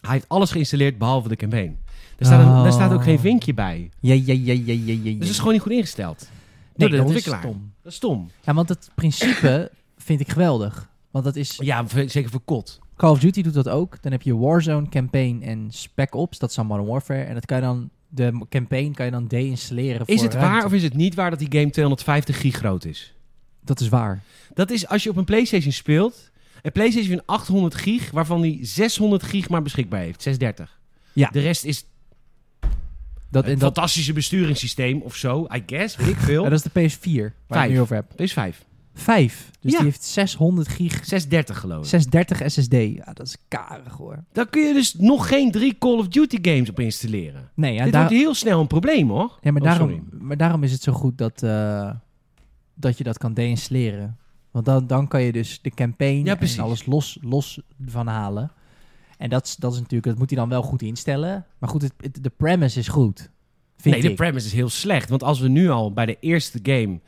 A: Hij heeft alles geïnstalleerd behalve de campaign. Daar staat, een-
B: Oh.
A: daar staat ook geen vinkje bij.
B: Ja, ja, ja, ja, ja, ja, ja.
A: Dus het is gewoon niet goed ingesteld.
B: nee,
A: door de
B: dat is
A: ontwikkelaar.
B: stom.
A: Dat is stom.
B: Ja, want het principe [coughs] vind ik geweldig. Want dat is,
A: Ja, v- zeker voor kot.
B: Call of Duty doet dat ook. Dan heb je Warzone, Campaign en Spec Ops. Dat is dan Modern Warfare. En dat kan je dan, de campaign kan je dan deinstalleren voor
A: Is het waar
B: ruimte.
A: of is het niet waar dat die game 250 gig groot is?
B: Dat is waar.
A: Dat is als je op een PlayStation speelt. Een PlayStation heeft 800 gig, waarvan die 600 gig maar beschikbaar heeft. 630.
B: Ja.
A: De rest is
B: Dat, en
A: een
B: dat,
A: fantastische besturingssysteem of zo. I guess, weet ik veel.
B: ja, dat is de PS4 waar ik
A: Vijf.
B: het nu over heb.
A: PS5.
B: Vijf. Dus
A: Ja.
B: die heeft 600 gig,
A: 630 geloof ik.
B: 630 SSD. Ja, dat is karig hoor.
A: Daar kun je dus nog geen drie Call of Duty games op installeren.
B: Nee, ja,
A: Dit
B: daar-
A: wordt heel snel een probleem hoor.
B: Ja, maar,
A: Oh, sorry.
B: daarom, maar daarom is het zo goed dat, eh, dat je dat kan deinstalleren. Want dan, dan kan je dus de campaign
A: Ja, precies.
B: en alles los, los van halen. En dat, is- dat is natuurlijk, dat moet hij dan wel goed instellen. Maar goed, het, het- de premise is goed. Vind
A: Nee, de
B: ik.
A: premise is heel slecht. Want als we nu al bij de eerste game...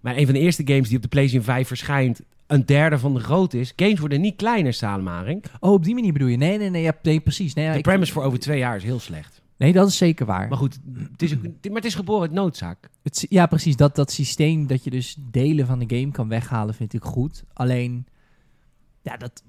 A: Maar een van de eerste games die op de PlayStation 5 verschijnt... een derde van de grootte is... Games worden niet kleiner, Salemaring.
B: oh, op die manier bedoel je? Nee, nee, nee, ja, nee precies. Nee, ja,
A: De
B: ik-
A: premise voor over twee jaar is heel slecht.
B: nee, dat is zeker waar.
A: Maar goed, het [clears throat] is, ook- het- maar het is geboren uit noodzaak.
B: Het sy- ja, precies. Dat, dat systeem dat je dus delen van de game kan weghalen, vind ik goed. Alleen, ja, dat,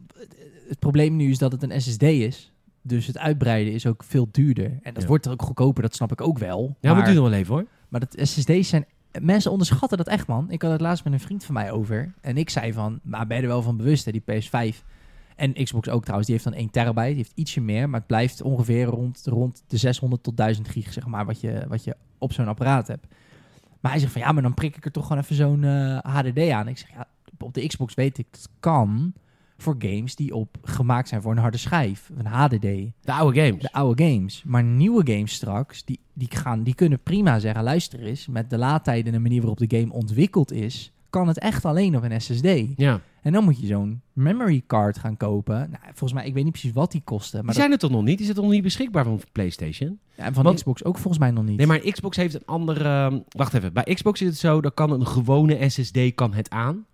B: het probleem nu is dat het een SSD is. Dus het uitbreiden is ook veel duurder. En dat
A: Ja.
B: wordt er ook goedkoper, dat snap ik ook wel.
A: Ja, maar
B: maar,
A: het duurt nog wel even hoor.
B: maar dat SSD's zijn... Mensen onderschatten dat echt, man. Ik had het laatst met een vriend van mij over. En ik zei van, maar ben je er wel van bewust, hè, die PS5... En Xbox ook trouwens, die heeft dan 1 terabyte, die heeft ietsje meer, maar het blijft ongeveer rond, rond de 600 tot 1000 gig, zeg maar, wat je, wat je op zo'n apparaat hebt. Maar hij zegt van ja, maar dan prik ik er toch gewoon even zo'n eh, HDD aan. Ik zeg ja, op de Xbox weet ik dat kan voor games die op gemaakt zijn voor een harde schijf, een HDD,
A: De oude games.
B: de oude games. Maar nieuwe games straks, die, die, gaan, die kunnen prima zeggen, luister eens, met de laadtijden en de manier waarop de game ontwikkeld is, kan het echt alleen op een SSD.
A: Ja.
B: En dan moet je zo'n memory card gaan kopen. Nou, volgens mij, ik weet niet precies wat die kosten.
A: Maar
B: Maar
A: die zijn er toch nog niet? Is het nog niet beschikbaar van PlayStation?
B: dat- en van
A: want-
B: Xbox ook volgens mij nog niet.
A: Nee, maar Xbox heeft een andere... ehm, Wacht even. Bij Xbox is het zo, dan kan een gewone SSD kan het aan.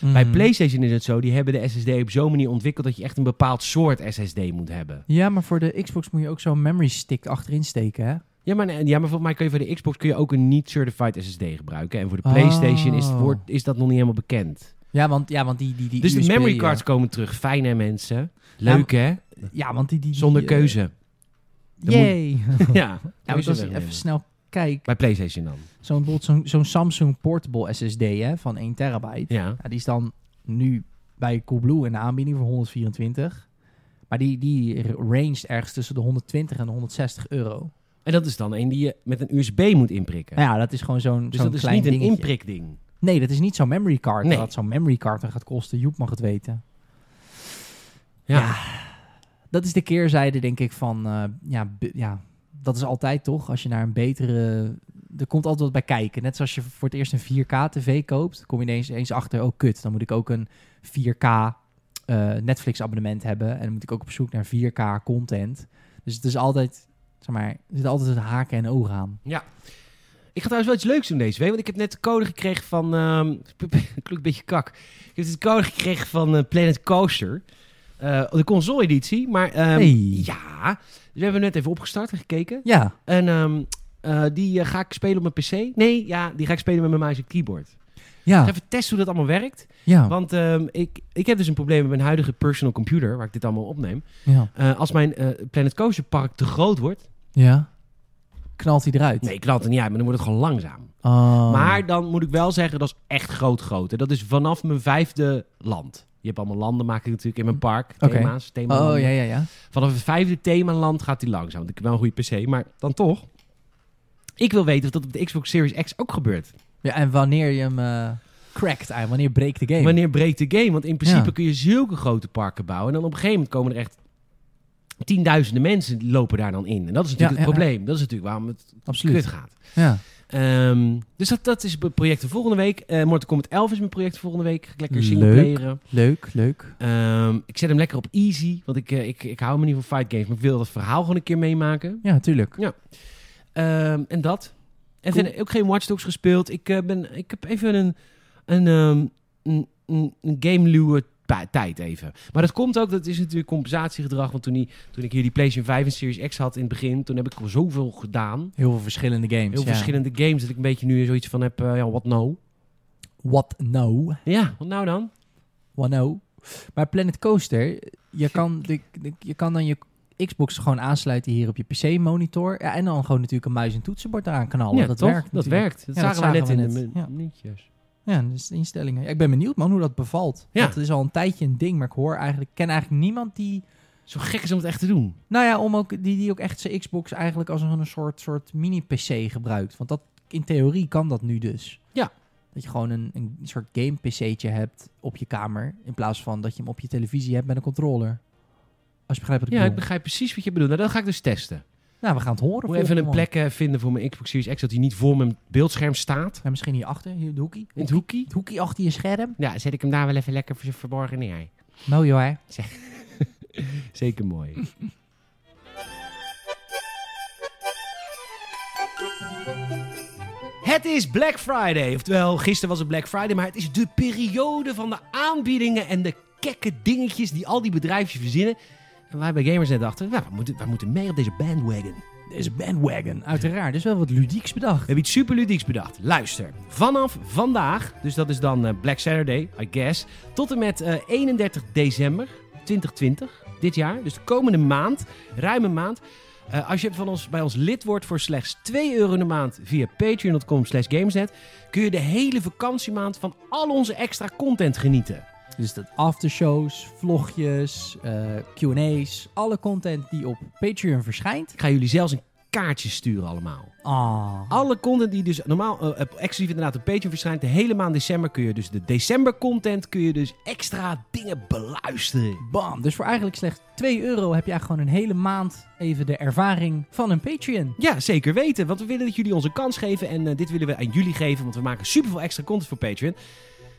B: Mhm.
A: Bij PlayStation is het zo, die hebben de SSD op zo'n manier ontwikkeld... dat je echt een bepaald soort SSD moet hebben.
B: Ja, maar voor de Xbox moet je ook zo'n memory stick achterin steken, hè?
A: Ja, maar, nee, ja, maar volgens mij kun je voor de Xbox kun je ook een niet-certified SSD gebruiken. En voor de
B: Oh.
A: PlayStation is, het woord, is dat nog niet helemaal bekend.
B: Ja, want, ja, want die, die, die
A: Dus de
B: USB,
A: memory
B: eh,
A: cards komen terug. Fijn hè, mensen? Leuk hè?
B: ja, want die... die, die,
A: Zonder
B: eh,
A: keuze. Dan moet-
B: Yay!
A: Ja,
B: ja, want als ik even snel kijk,
A: Bij PlayStation dan.
B: zo'n bijvoorbeeld zo'n zo'n Samsung Portable SSD hè, van 1 terabyte,
A: Ja.
B: ja, die is dan nu bij Coolblue in de aanbieding voor 124. Maar die, die ranged ergens tussen de 120 en de 160 euro.
A: En dat is dan een die je met een USB moet inprikken.
B: Nou ja, dat is gewoon zo'n
A: dus
B: zo'n
A: dat is
B: klein
A: niet een
B: dingetje.
A: inprikding.
B: Nee, dat is niet zo'n memory card.
A: Nee.
B: Dat zo'n memory card dan gaat kosten. Joep mag het weten.
A: Ja.
B: Dat is de keerzijde, denk ik, van... eh, ja, b- ja, dat is altijd toch, als je naar een betere... Er komt altijd wat bij kijken. Net zoals je voor het eerst een 4K-tv koopt... kom je ineens eens achter, oh kut, dan moet ik ook een 4K eh, Netflix-abonnement hebben. En dan moet ik ook op zoek naar 4K-content. Dus het is altijd, zeg maar, er zit altijd een haken en ogen aan.
A: Ik ga trouwens wel iets leuks doen deze week. Want ik heb net de code gekregen van... ehm, [laughs] het Klinkt een beetje kak. Ik heb de code gekregen van eh, Planet Coaster. Eh, de console editie. Maar ehm,
B: Hey.
A: ja. Dus we hebben net even opgestart en gekeken.
B: Ja,
A: En ehm, eh, die eh, ga ik spelen op mijn PC. Nee, ja, die ga ik spelen met mijn muis en keyboard. Ik
B: ja,
A: ga even testen hoe dat allemaal werkt.
B: ja,
A: Want ehm, ik, ik heb dus een probleem met mijn huidige personal computer... waar ik dit allemaal opneem.
B: ja,
A: Eh, als mijn eh, Planet Coaster Park te groot wordt...
B: ja. Knalt hij eruit?
A: Nee, ik laat het niet uit, maar dan wordt het gewoon langzaam.
B: Oh.
A: Maar dan moet ik wel zeggen, dat is echt groot groot. En dat is vanaf mijn vijfde land. Je hebt allemaal landen, maak ik natuurlijk in mijn park.
B: Oké.
A: Thema's,
B: Oh,
A: themalanden.
B: ja, ja, ja.
A: Vanaf het vijfde themaland gaat hij langzaam. Want ik heb wel een goede PC, maar dan toch. Ik wil weten of dat op de Xbox Series X ook gebeurt.
B: Ja, en wanneer je hem eh, crackt eigenlijk, wanneer breekt de game?
A: Wanneer breekt de game? Want in principe
B: Ja.
A: kun je zulke grote parken bouwen. En dan op een gegeven moment komen er echt tienduizenden mensen die lopen daar dan in. En dat is natuurlijk
B: Ja,
A: het
B: ja, ja.
A: probleem. Dat is natuurlijk waarom het kut
B: Absoluut.
A: gaat.
B: Ja.
A: Ehm, dus dat, dat is mijn project voor volgende week. Eh Mortal Kombat 11 is mijn project voor volgende week. Ga ik lekker
B: Leuk.
A: singleplayeren.
B: Leuk, leuk.
A: Ehm ik zet hem lekker op easy. Want ik, eh, ik, ik hou me niet van fight games. Maar ik wil dat verhaal gewoon een keer meemaken.
B: Ja, tuurlijk.
A: Ehm, en dat. En
B: Cool.
A: verder ook geen Watch Dogs gespeeld. Ik, eh, ben, ik heb even een, een, ehm, een, een, een gameluwe pa- tijd even. Maar dat komt ook, dat is natuurlijk compensatiegedrag. Want toen, die, toen ik hier die PlayStation 5 en Series X had in het begin... toen heb ik al zoveel gedaan.
B: Heel veel verschillende games.
A: Heel
B: ja.
A: verschillende games. Dat ik een beetje nu zoiets van heb, eh, ja, wat nou?
B: What no?
A: Ja, wat nou dan?
B: What no? Maar Planet Coaster, je [laughs] kan, de, de- je kan dan je Xbox gewoon aansluiten hier op je PC-monitor. Ja, en dan gewoon natuurlijk een muis en toetsenbord eraan knallen.
A: ja,
B: dat
A: toch?
B: werkt
A: Dat
B: natuurlijk.
A: werkt. Dat
B: Ja,
A: zagen
B: dat
A: wij net
B: zagen
A: in
B: we
A: de
B: net. Ja.
A: minuutjes.
B: Ja, dus de instellingen. Ja, ik ben benieuwd man hoe dat bevalt.
A: Ja.
B: Ja. Dat is al een tijdje een ding, maar ik hoor eigenlijk, ken eigenlijk niemand die...
A: Zo gek is om het echt te doen.
B: Nou ja, om ook, die, die ook echt zijn Xbox eigenlijk als een, een soort, soort mini-PC gebruikt. Want dat, in theorie kan dat nu dus.
A: Ja.
B: Dat je gewoon een, een soort game-PC'tje hebt op je kamer. In plaats van dat je hem op je televisie hebt met een controller. Als je begrijpt wat ik
A: Ja, ik
B: bedoel.
A: begrijp precies wat je bedoelt. Nou, dat ga ik dus testen.
B: Nou, we gaan het horen.
A: Ik moet even
B: volgende
A: een
B: man.
A: plek eh, vinden voor mijn Xbox Series X... dat hij niet voor mijn beeldscherm staat.
B: Ja, misschien hierachter, hier in de hoekie.
A: In het hoekie.
B: Het hoekie achter je scherm.
A: Ja, zet ik hem daar wel even lekker ver- verborgen neer.
B: Mooi hoor. hè?
A: Zeker mooi. [laughs] Het is Black Friday. Oftewel, gisteren was het Black Friday, maar het is de periode van de aanbiedingen en de kekke dingetjes die al die bedrijfjes verzinnen. En wij bij Gamers net dachten, nou, we, moeten, we moeten mee op deze bandwagon.
B: Deze bandwagon. Uiteraard, dus wel wat ludieks bedacht.
A: We hebben iets superludieks bedacht. Luister, vanaf vandaag, dus dat is dan eh, Black Saturday, I guess, tot en met eh, 31 december 2020, dit jaar, dus de komende maand, ruime maand. eh, als je van ons, bij ons lid wordt voor slechts 2 euro in de maand via patreon.com slash gamesnet, kun je de hele vakantiemaand van al onze extra content genieten.
B: Dus dat aftershows, vlogjes, eh, Q&A's, alle content die op Patreon verschijnt.
A: Ik ga jullie zelfs een kaartje sturen allemaal.
B: Ah,
A: Alle content die dus normaal eh, eh, exclusief inderdaad op Patreon verschijnt, de hele maand december kun je dus de december content kun je dus extra dingen beluisteren.
B: bam. Dus voor eigenlijk slechts 2 euro heb je eigenlijk gewoon een hele maand even de ervaring van een Patreon.
A: Ja, zeker weten, want we willen dat jullie ons een kans geven en eh, dit willen we aan jullie geven, want we maken super veel extra content voor Patreon.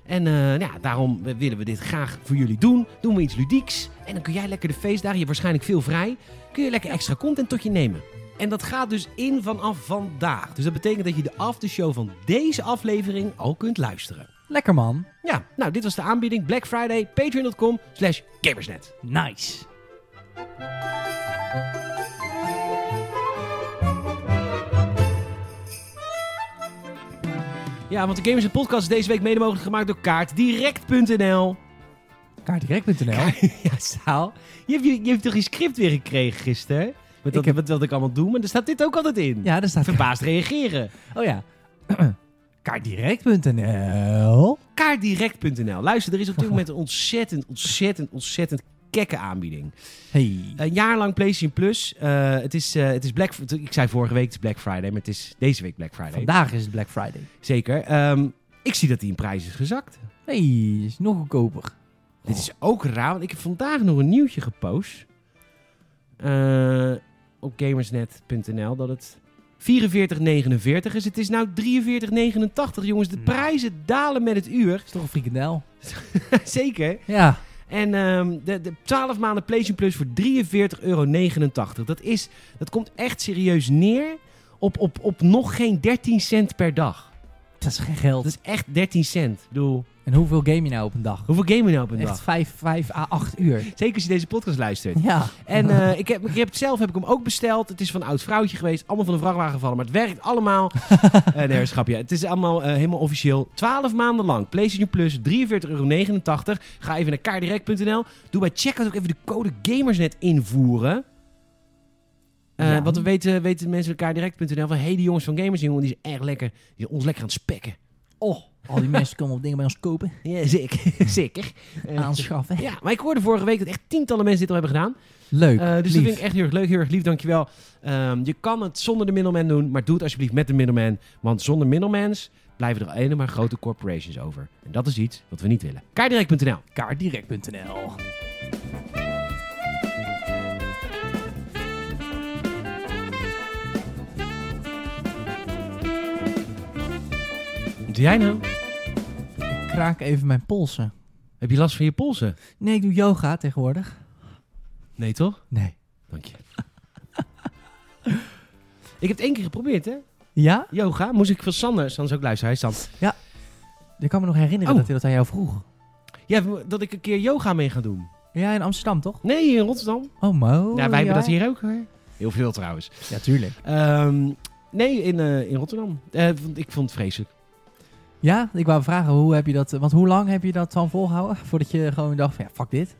A: En eh, ja, daarom willen we dit graag voor jullie doen. Doen we iets ludieks en dan kun jij lekker de feestdagen, je hebt waarschijnlijk veel vrij, kun je lekker extra content tot je nemen. En dat gaat dus in vanaf vandaag. Dus dat betekent dat je de aftershow van deze aflevering al kunt luisteren.
B: Lekker man.
A: Ja, nou, dit was de aanbieding. Black Friday, patreon.com slash gamersnet.
B: Nice.
A: Ja, want de Gamers en Podcast is deze week mede mogelijk gemaakt door kaartdirect.nl.
B: Kaartdirect.nl.
A: [laughs] Ja, Saal, je hebt, je, je hebt toch je script weer gekregen gisteren? Met dat,
B: Ik heb-
A: met wat ik allemaal doe, maar daar staat dit ook altijd in.
B: Ja, daar staat...
A: Verbaasd reageren.
B: Oh ja. [clears throat] Kaartdirect.nl.
A: Kaartdirect.nl. Luister, er is op dit moment een ontzettend, ontzettend, ontzettend kekke aanbieding.
B: Hey.
A: Een jaar lang PlayStation Plus. Eh, het, is, eh, het is Black... Ik zei vorige week het is Black Friday, maar het is deze week Black Friday.
B: Vandaag is het Black Friday.
A: Zeker. Ehm, ik zie dat die in prijs is gezakt.
B: Hey, is nog goedkoper.
A: Dit is ook raar, want ik heb vandaag nog een nieuwtje gepost. eh, op gamersnet.nl dat het 44,49 is. Het is nou 43,89. Jongens, de
B: Nou.
A: prijzen dalen met het uur.
B: [laughs] Is toch een frikandel?
A: Zeker.
B: Ja.
A: En ehm, de, de 12 maanden PlayStation Plus voor 43,89 euro. Dat, is, dat komt echt serieus neer op, op, op nog geen 13 cent per dag.
B: Dat is geen geld.
A: Dat is echt 13 cent. Ik bedoel,
B: En hoeveel game je nou op een dag?
A: hoeveel game je nou op een
B: Echt
A: dag?
B: 5, 5 à 8 uur.
A: [laughs] Zeker als je deze podcast luistert.
B: Ja.
A: En eh, ik, heb, ik heb het zelf heb ik hem ook besteld. Het is van een oud vrouwtje geweest. Allemaal van de vrachtwagen gevallen. Maar het werkt
B: [laughs]
A: allemaal. Eh nee, een grapje. Het is allemaal eh, helemaal officieel. 12 maanden lang. PlayStation Plus. 43,89 euro. Ga even naar kaardirect.nl. Doe bij checkout ook even de code GAMERSNET invoeren. Eh,
B: Ja.
A: Want dan weten, weten mensen bij kaardirect.nl van... Hé, hey, die jongens van Gamers, jongen, die is echt lekker. Die zijn ons lekker aan het spekken.
B: Oh, Al die mensen komen op dingen bij ons kopen,
A: Ja, zeker. [laughs] zeker. Eh,
B: aanschaffen.
A: ja, maar ik hoorde vorige week dat echt tientallen mensen dit al hebben gedaan.
B: Leuk,
A: Eh, dus dat
B: lief.
A: vind ik echt heel erg leuk, heel erg lief, dankjewel. Ehm, je kan het zonder de middleman doen, maar doe het alsjeblieft met de middleman. Want zonder middlemans blijven er alleen maar grote corporations over. En dat is iets wat we niet willen. Kaardirect.nl
B: kaartdirect.nl.
A: Doe jij nou?
B: Ik kraak even mijn polsen.
A: Heb je last van je polsen?
B: Nee, ik doe yoga tegenwoordig.
A: Nee, toch?
B: Nee.
A: Dank [laughs] je. ik heb het één keer geprobeerd, hè?
B: Ja?
A: Yoga. Moest ik van Sander, Sander is ook luisteren, hij is Sander.
B: Ik kan me nog herinneren
A: Oh.
B: dat hij dat aan jou vroeg.
A: Ja, dat ik een keer yoga mee ga doen.
B: Ja, in Amsterdam toch?
A: Nee, in Rotterdam.
B: Oh, mo.
A: ja, wij hebben dat hier ook, hoor. Heel veel trouwens.
B: Ja, tuurlijk.
A: Ehm, nee, in, eh, in Rotterdam. Eh, want ik vond het vreselijk.
B: Ja, ik wou vragen, hoe heb je dat... Want hoe lang heb je dat dan volgehouden? [laughs] Voordat je gewoon dacht van, ja, fuck dit.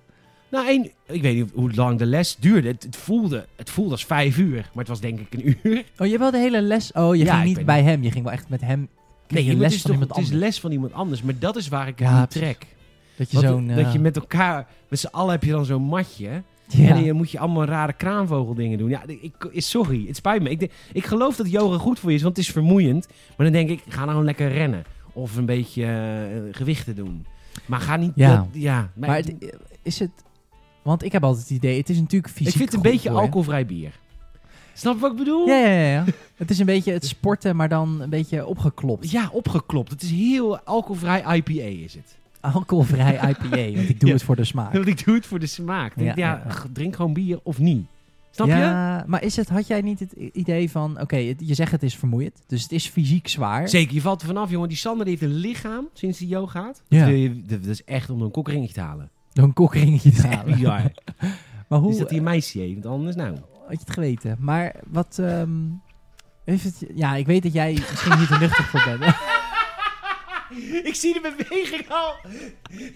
A: Nou, één, ik weet niet hoe lang de les duurde. Het, het voelde, het voelde als vijf uur, maar het was denk ik een [laughs] uur.
B: Oh, je hebt wel de hele les... Oh, je
A: Ja, ik
B: ging niet
A: weet
B: bij hem. Je ging wel echt met hem... Nee, je
A: maar
B: les
A: het, is
B: van
A: toch-
B: iemand
A: het is
B: anders.
A: les van iemand anders. Maar dat is waar ik het
B: Ja,
A: niet
B: precies.
A: trek.
B: Dat je
A: Want
B: zo'n... eh,
A: dat je met elkaar, met z'n allen heb je dan zo'n matje.
B: ja.
A: En dan moet je allemaal rare kraanvogeldingen doen. Ja, ik, ik- sorry, het spijt me. Ik, denk- ik geloof dat yoga goed voor je is, want het is vermoeiend. Maar dan denk ik, ga nou gewoon lekker rennen. Of een beetje eh, gewichten doen. Maar ga niet...
B: Ja.
A: dat- ja maar
B: Maar het- is het... Want ik heb altijd het idee, het is natuurlijk fysiek
A: ik vind het
B: goed
A: een beetje
B: voor je.
A: alcoholvrij bier. Snap je wat ik bedoel?
B: Ja, ja, ja. ja. het is een beetje het sporten, maar dan een beetje opgeklopt.
A: Ja, opgeklopt. Het is heel alcoholvrij IPA is het.
B: Alcoholvrij IPA, want ik doe
A: Ja.
B: het voor de
A: [laughs]
B: smaak.
A: Want ik doe het voor de smaak. Denk,
B: Ja,
A: ja,
B: ja, ja.
A: g- drink gewoon bier of niet. Snap
B: ja, maar is het, had jij niet het i- idee van, oké, het- je zegt het is vermoeiend, dus het is fysiek
A: je?
B: zwaar.
A: Zeker, je valt er vanaf, jongen. Die Sander die heeft een lichaam sinds hij yoga gaat.
B: Ja.
A: Dat, wil je- dat is echt om een kokringetje te halen.
B: Door een kokringetje te
A: [laughs]
B: halen.
A: Ja.
B: [laughs] Maar hoe
A: Dus dat hij een meisje heeft, want anders nou.
B: had je het geweten? Maar wat, ehm, heeft het, ja, ik weet dat jij misschien niet er nuchter voor
A: [laughs]
B: bent.
A: Ik zie de beweging al.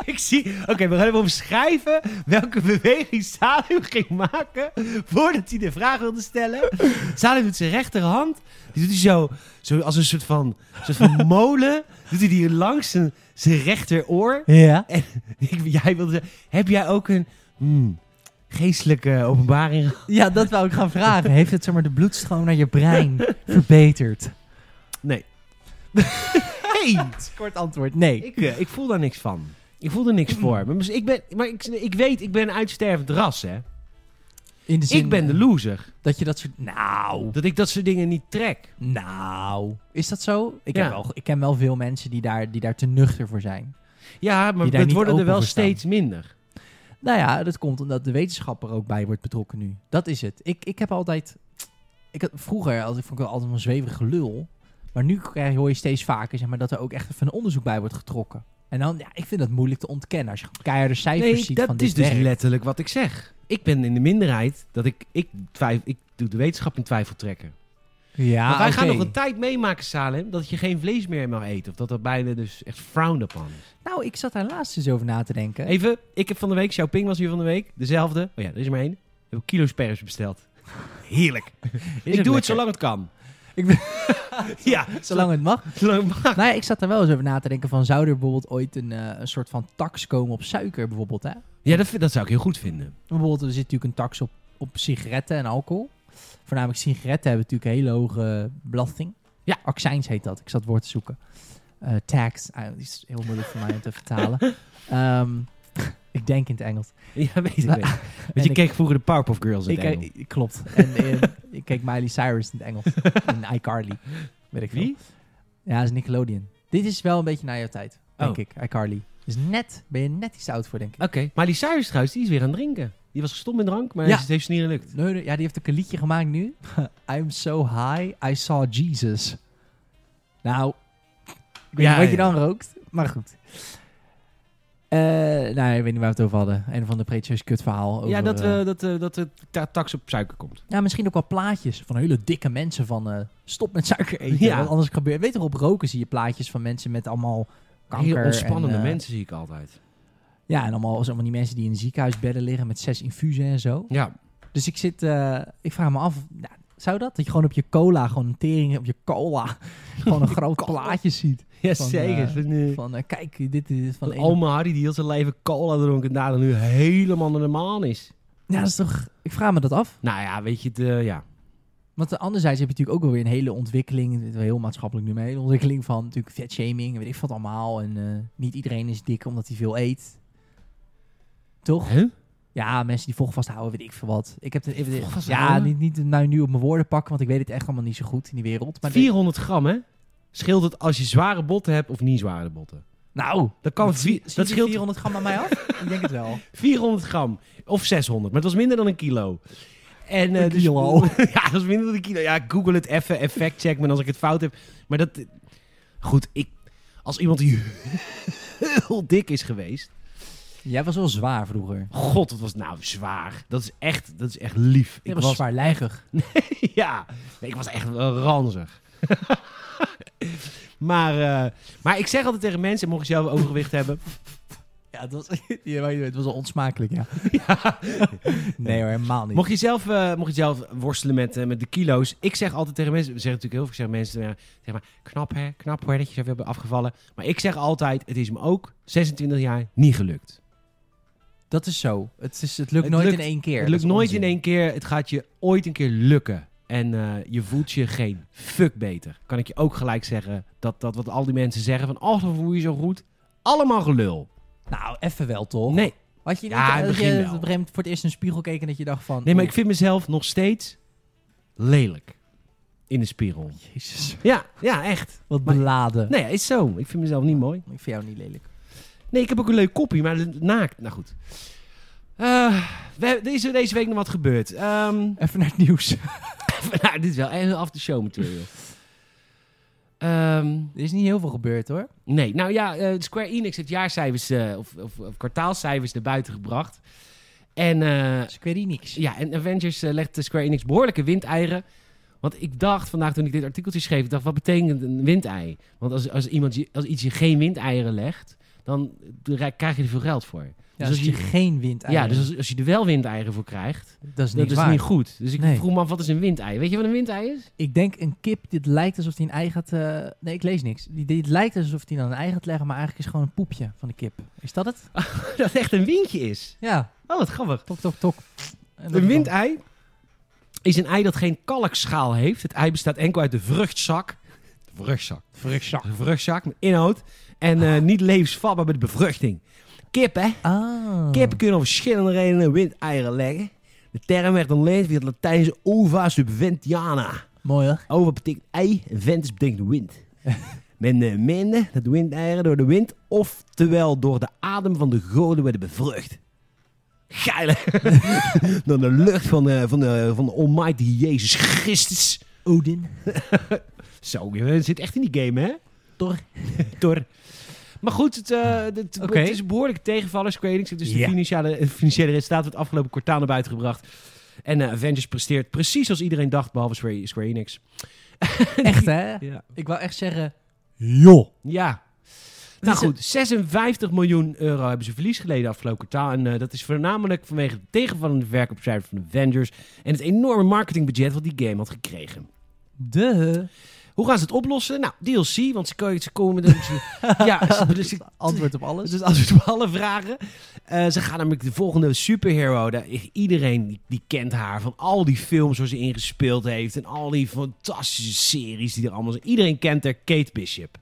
A: Ik zie... Oké, we gaan even omschrijven welke beweging Salim ging maken voordat hij de vraag wilde stellen. Salim doet zijn rechterhand. Die doet hij zo, zo als een soort van, soort van molen. Doet hij die langs zijn, zijn rechteroor.
B: ja.
A: Ik- jij wilde zeggen, heb jij ook een hmm, geestelijke openbaring gehad?
B: ja, dat wou ik gaan vragen. Heeft het zeg maar, de bloedstroom naar je brein verbeterd?
A: Nee. [laughs] hey,
B: Kort antwoord, nee.
A: Ik, eh, ik voel daar niks van. Ik voel er niks voor. Maar, mis- ik ben, maar ik, ik weet, ik ben een uitstervend ras, hè.
B: In de zin,
A: ik ben de
B: eh,
A: loser.
B: Dat je dat soort, nou,
A: Dat ik dat soort dingen niet trek.
B: nou. Is dat zo? Ik,
A: Ja.
B: heb wel, ik ken wel veel mensen die daar, die daar te nuchter voor zijn.
A: Ja, maar
B: Die daar
A: het
B: niet
A: worden er
B: open
A: wel
B: voor staan.
A: steeds minder.
B: Nou ja, dat komt omdat de wetenschap er ook bij wordt betrokken nu. Dat is het. Ik, ik heb altijd... Ik had, vroeger als, ik vond ik wel altijd een zweverige lul. Maar nu krijg, hoor je steeds vaker zeg maar, dat er ook echt even een onderzoek bij wordt getrokken. En dan, ja, ik vind dat moeilijk te ontkennen. Als je gewoon keiharde cijfers
A: Nee,
B: ziet van
A: dat
B: dit
A: is dus
B: werkt.
A: letterlijk wat ik zeg. Ik ben in de minderheid dat ik, ik, twijf, ik doe de wetenschap in twijfel trekken.
B: Ja,
A: maar wij gaan
B: Ah, oké.
A: nog een tijd meemaken, Salem, dat je geen vlees meer mag eten. Of dat dat bijna dus echt frowned upon is.
B: Nou, ik zat daar laatst eens over na te denken.
A: Even, ik heb van de week, Xiaoping was hier van de week, dezelfde. Oh ja, er is er maar één. Ik heb kilo's pers besteld. Heerlijk.
B: [laughs] Is
A: ik doe het
B: lekker?
A: zolang het kan.
B: Ik ben-
A: [laughs] ja,
B: Zolang het mag.
A: zolang het mag.
B: nou ja, ik zat daar wel eens over na te denken van... zou er bijvoorbeeld ooit een, eh, een soort van tax komen op suiker bijvoorbeeld, hè?
A: Ja, dat, vind- dat zou ik heel goed vinden.
B: Bijvoorbeeld, er zit natuurlijk een tax op, op sigaretten en alcohol. Voornamelijk sigaretten hebben natuurlijk een hele hoge belasting.
A: Ja.
B: Accijns heet dat. Ik zat het woord te zoeken. Eh, tax. Ah, die is heel moeilijk voor mij om te
A: [laughs]
B: vertalen. Ehm, ik denk in het Engels. [laughs]
A: Ja, weet ik. [laughs]
B: Nou,
A: weet ik.
B: en
A: Want je
B: ik-
A: keek vroeger de Powerpuff Girls in
B: Ik,
A: het Engels.
B: eh, klopt. En eh, ik keek Miley Cyrus in het Engels. en iCarly. Weet ik veel.
A: Wie?
B: Ja, dat is Nickelodeon. Dit is wel een beetje naar jouw tijd, denk
A: Oh.
B: ik. iCarly. Dus net, ben je net iets te oud voor, denk ik.
A: Oké. Maar die Cyrus trouwens, die is weer aan het drinken. Die was gestopt met drank, maar
B: Ja.
A: het heeft ze niet gelukt.
B: Nee, nee, ja, die heeft ook een liedje gemaakt nu. [laughs] I'm so high, I saw Jesus. Nou, ik weet
A: Ja,
B: niet wat je
A: ja.
B: dan rookt, maar goed. Eh, nou, ik weet niet waar we het over hadden. Een van de pretentieus kutverhaal over...
A: ja, dat,
B: eh,
A: eh dat, eh, dat de ta- tax op suiker komt.
B: ja, misschien ook wel plaatjes van hele dikke mensen van... eh, stop met suiker eten,
A: Ja.
B: want anders gebeurt... Weet toch, op roken zie je plaatjes van mensen met allemaal kanker.
A: Heel ontspannende
B: en, eh,
A: mensen zie ik altijd.
B: Ja, en allemaal, allemaal die mensen die in ziekenhuisbedden liggen met zes infusen en zo.
A: Ja.
B: Dus ik zit, eh, ik vraag me af, nou, Zou dat? Dat je gewoon op je cola, gewoon een tering op je
A: [laughs]
B: cola, gewoon een groot plaatje ziet.
A: Ja,
B: Van,
A: zeker.
B: eh,
A: Van, eh,
B: Van, eh, kijk, dit is van...
A: van
B: een-
A: oma Harry die heel zijn leven cola dronk en daar dan nu helemaal naar de maan is.
B: Ja, dat is toch... Ik vraag me dat af.
A: Nou ja, weet je, het, eh, ja.
B: Want eh, anderzijds heb je natuurlijk ook wel weer een hele ontwikkeling, dit is heel maatschappelijk nu mee, een ontwikkeling van natuurlijk vetshaming en weet ik wat allemaal. En eh, niet iedereen is dik omdat hij veel eet. Toch?
A: Huh?
B: Ja, mensen die vocht vasthouden, weet ik veel wat. Ik heb de, even de-
A: Vocht vasthouden?
B: ja, niet, niet nou nu op mijn woorden pakken, want ik weet het echt allemaal niet zo goed in die wereld. Maar de-
A: 400 gram, hè? Scheelt het als je zware botten hebt of niet zware botten?
B: nou,
A: Dat, kan,
B: zie-
A: vi-
B: zie
A: dat
B: je
A: scheelt
B: 400 gram aan mij af? [laughs] ik denk het wel.
A: 400 gram of 600, maar het was minder dan een kilo. En, eh,
B: Een
A: dus-
B: kilo.
A: [laughs] ja, dat was minder dan een kilo. Ja, google het even, effect check me als ik het fout heb. Maar dat... Goed, ik... Als iemand die heel dik is geweest...
B: Jij was wel zwaar vroeger.
A: God, dat was nou zwaar. Dat is echt, dat is echt lief.
B: Ik was, was zwaarlijgig.
A: [laughs] Ja, ik was echt wel
B: [laughs]
A: ranzig. maar, eh, maar ik zeg altijd tegen mensen, mocht je zelf overgewicht hebben...
B: Ja, het was, [laughs] het was al onsmakelijk, [laughs] ja. Nee hoor, helemaal niet.
A: Mocht je zelf, eh, mocht je zelf worstelen met, eh, met de kilo's. Ik zeg altijd tegen mensen, we zeggen natuurlijk heel veel, ik zeg mensen, ja, zeg maar, knap hè, knap hoor dat je zoveel bent afgevallen. Maar ik zeg altijd, het is me ook 26 jaar niet gelukt.
B: Dat is zo. Het, is, het lukt
A: Het
B: nooit
A: lukt-
B: in één keer.
A: het
B: Dat
A: lukt
B: is
A: nooit
B: onzin.
A: in één keer, het gaat je ooit een keer lukken. En eh, je voelt je geen fuck beter. Kan ik je ook gelijk zeggen, dat, dat wat al die mensen zeggen van, oh dan voel je je zo goed. Allemaal gelul.
B: Nou, even wel toch?
A: Nee,
B: Had je niet
A: Ja, in
B: dat
A: het
B: je
A: begin
B: op een
A: wel.
B: gegeven moment voor het eerst in een spiegel keek en dat je dacht van...
A: nee, maar
B: oh,
A: ik vind mezelf nog steeds lelijk. In de spiegel.
B: Jezus,
A: Ja, ja, echt.
B: wat
A: Maar-
B: beladen.
A: Nee, is zo. Ik vind mezelf niet mooi.
B: Ik vind jou niet lelijk.
A: Nee, ik heb ook een leuk koppie, maar naakt. Nou goed. Eh, we, er is er deze week nog wat gebeurd. Ehm,
B: Even naar het nieuws.
A: [laughs] nou, dit is wel echt af de show material. [laughs] Ehm,
B: er is niet heel veel gebeurd hoor.
A: nee, nou ja, eh, Square Enix heeft jaarcijfers eh, of, of, of kwartaalcijfers naar buiten gebracht. En eh,
B: Dus ik weet hier niks.
A: ja, en Avengers eh, legt de Square Enix behoorlijke windeieren. Want ik dacht vandaag toen ik dit artikeltje schreef, ik dacht wat betekent een windei? Want als, als, iemand je, als iets je geen windeieren legt, dan eh, krijg je er veel geld voor.
B: Ja,
A: als
B: dus als je
A: je-
B: geen wind
A: Ja, dus als, als je er wel windeieren voor krijgt,
B: dat is niet
A: dat is
B: waar.
A: niet goed. Dus ik
B: Nee.
A: vroeg me af, wat is een windei? Weet je wat een windei is?
B: Ik denk een kip, dit lijkt alsof hij een ei gaat... eh, Nee, ik lees niks. Die- Dit lijkt alsof hij dan een ei gaat leggen, maar eigenlijk is het gewoon een poepje van de kip. Is [laughs] dat het?
A: dat het echt een windje is.
B: Ja,
A: Oh, wat grappig.
B: tok, tok, tok. En dat
A: Een
B: is dan-
A: windei is een ei dat geen kalkschaal heeft. Het ei bestaat enkel uit de vruchtzak. De vruchtzak.
B: Vruchtzak.
A: De vruchtzak met inhoud. En eh, niet levensvatbaar met bevruchting. Kippen, hè?
B: Ah.
A: Kippen kunnen om verschillende redenen windeieren leggen. De term werd ontleend via het Latijnse ova subventiana.
B: Mooi hoor.
A: Over betekent ei en ventus betekent
B: [laughs]
A: wind. Men eh, meende dat windeieren door de wind, oftewel door de adem van de goden, werden bevrucht. Geil,
B: [laughs]
A: hè? Door de lucht van de, van de, van de almighty Jezus Christus.
B: Odin.
A: Zo, je zit echt in die game, hè? [laughs]
B: Thor.
A: Door. Maar goed, het, eh, het,
B: Oké.
A: het is een behoorlijke tegenvaller. Square Enix heeft dus de
B: Ja.
A: financiële, het financiële resultaat van het afgelopen kwartaal naar buiten gebracht. En eh, Avengers presteert precies als iedereen dacht, behalve Square- Square Enix.
B: Echt hè?
A: [laughs] Ja.
B: Ik wou echt zeggen... Joh.
A: Ja.
B: Het
A: Nou
B: is
A: goed, 56 miljoen euro hebben ze verlies geleden afgelopen kwartaal. En eh, dat is voornamelijk vanwege het tegenvallende verkoopcijfer van Avengers... en het enorme marketingbudget wat die game had gekregen.
B: De
A: Hoe gaan ze het oplossen? Nou, DLC, want ze, ko- ze komen... Met,
B: [laughs]
A: ja, ze- dus ik-
B: antwoord op alles.
A: dus als we het op alle vragen. Eh, ze gaan namelijk de volgende superhero. daar- Iedereen die, die kent haar. Van al die films waar ze in gespeeld heeft. En al die fantastische series die er allemaal zijn. Iedereen kent haar. Kate Bishop.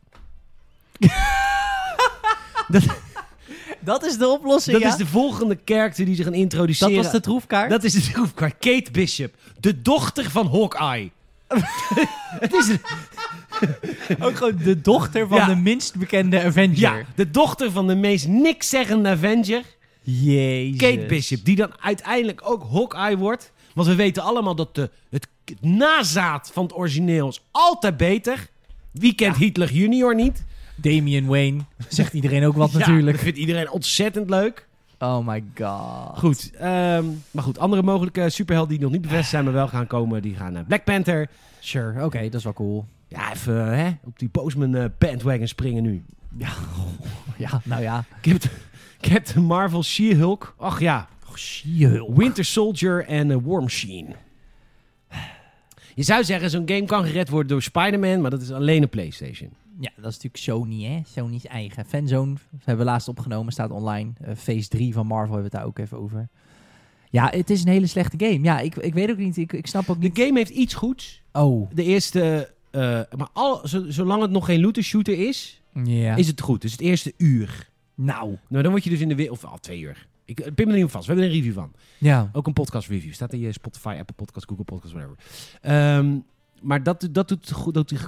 B: dat is de oplossing.
A: dat is de volgende character die ze gaan
B: dat
A: introduceren.
B: was de troefkaart.
A: Dat is de troefkaart. Kate Bishop. De dochter van Hawkeye. het is een-
B: ook gewoon de dochter van
A: Ja.
B: de minst bekende Avenger.
A: ja, de dochter van de meest nikszeggende Avenger.
B: Jezus.
A: Kate Bishop, die dan uiteindelijk ook Hawkeye wordt. Want we weten allemaal dat de, het, het nazaat van het origineel is altijd beter. Wie kent Hitler junior niet?
B: Damian Wayne. Zegt iedereen ook wat
A: Ja,
B: natuurlijk.
A: Dat vindt iedereen ontzettend leuk.
B: Oh my god.
A: Goed, ehm, maar goed. Andere mogelijke superhelden die nog niet bevestigd zijn, maar wel gaan komen, die gaan naar Black Panther.
B: Sure. Oké, dat is wel cool.
A: Ja, even eh, hè, op die Postman eh, bandwagon springen nu.
B: Ja, nou ja.
A: Captain, [laughs] Captain Marvel, She-Hulk. Ach ja,
B: Oh, She-Hulk.
A: Winter Soldier en eh, War Machine. Je zou zeggen, zo'n game kan gered worden door Spider-Man, maar dat is alleen een PlayStation.
B: Ja, dat is natuurlijk Sony, hè? Sony's eigen. Fanzone hebben we laatst opgenomen, staat online. Eh, phase 3 van Marvel hebben we het daar ook even over. Ja, het is een hele slechte game. Ja, ik, ik weet ook niet. Ik, ik snap ook
A: De
B: niet.
A: game heeft iets goeds.
B: Oh,
A: De eerste, eh, maar al, zo- zolang het nog geen looter shooter is,
B: ja.
A: is het goed. Dus het eerste uur.
B: Nou.
A: Nou, dan word je dus in de wereld, of al twee uur. Ik eh, pin me er niet op vast. We hebben er een review van.
B: Ja.
A: Ook een podcast review. Staat in je Spotify, Apple Podcast, Google Podcast, whatever. Ehm, maar dat, dat doet goed. Dat doet,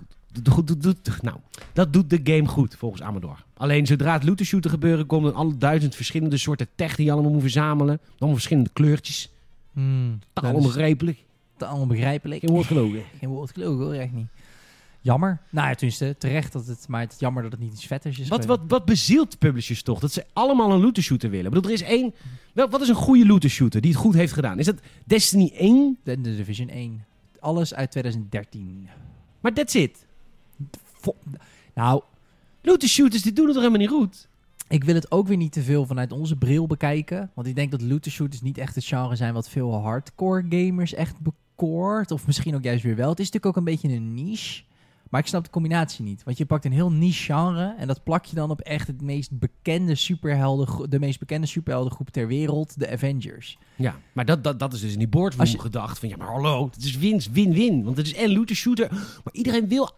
A: goed- doet- doet- nou, dat doet de game goed, volgens Amador. Alleen zodra het looter shooter gebeuren komt, dan alle duizend verschillende soorten tech die je allemaal moet verzamelen. Dan verschillende kleurtjes.
B: Hmm,
A: Taal
B: dat is
A: onbegrijpelijk.
B: Taal onbegrijpelijk.
A: Geen woord gelogen.
B: Geen woord geloof hoor, echt niet. Jammer. Nou ja, tenminste, terecht dat het... Maar het is jammer dat het niet iets vetters is.
A: Wat, wat, wat bezielt publishers toch? Dat ze allemaal een looter shooter willen. Ik bedoel, er is één... Wel, wat is een goede looter shooter die het goed heeft gedaan? Is dat Destiny 1?
B: De, de Division 1. Alles uit 2013.
A: Maar that's it.
B: Vo- nou,
A: Looter shooters die doen het toch helemaal niet goed?
B: ik wil het ook weer niet te veel vanuit onze bril bekijken. Want ik denk dat looter shooters niet echt het genre zijn wat veel hardcore gamers echt bekoort. Of misschien ook juist weer wel. Het is natuurlijk ook een beetje een niche. Maar ik snap de combinatie niet. Want je pakt een heel niche genre. En dat plak je dan op echt het meest bekende superhelden, de meest bekende superheldengroep ter wereld. De Avengers.
A: Ja, maar dat, dat, dat is dus in die
B: Als
A: boardroom
B: je-
A: gedacht. Van ja, maar hallo, het is win, win, win. Want het is en looter shooter, maar iedereen wil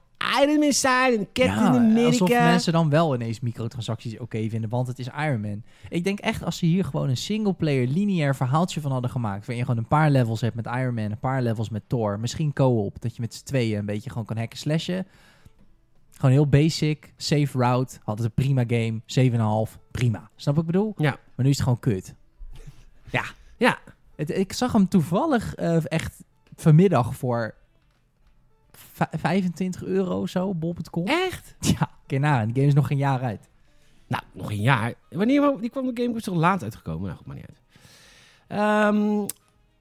A: Iron Man zijn en Captain America.
B: Alsof mensen dan wel ineens microtransacties oké vinden, want het is Iron Man. Ik denk echt als ze hier gewoon een singleplayer lineair verhaaltje van hadden gemaakt, waarin je gewoon een paar levels hebt met Iron Man, een paar levels met Thor, misschien co-op, dat je met z'n tweeën een beetje gewoon kan hacken slashen. Gewoon heel basic, safe route, had het een prima game, 7,5, prima. Snap wat ik bedoel?
A: Ja.
B: Maar nu is het gewoon kut.
A: [laughs] Ja,
B: Het- ik zag hem toevallig eh, echt vanmiddag voor vij- 25 euro zo, bol.com.
A: echt?
B: [laughs] Ja, kijk na, de game is nog een jaar uit.
A: Nou, nog een jaar. Wanneer wa- die kwam de Gamecube is toch laat uitgekomen? Nou, goed, maar niet uit. Ehm,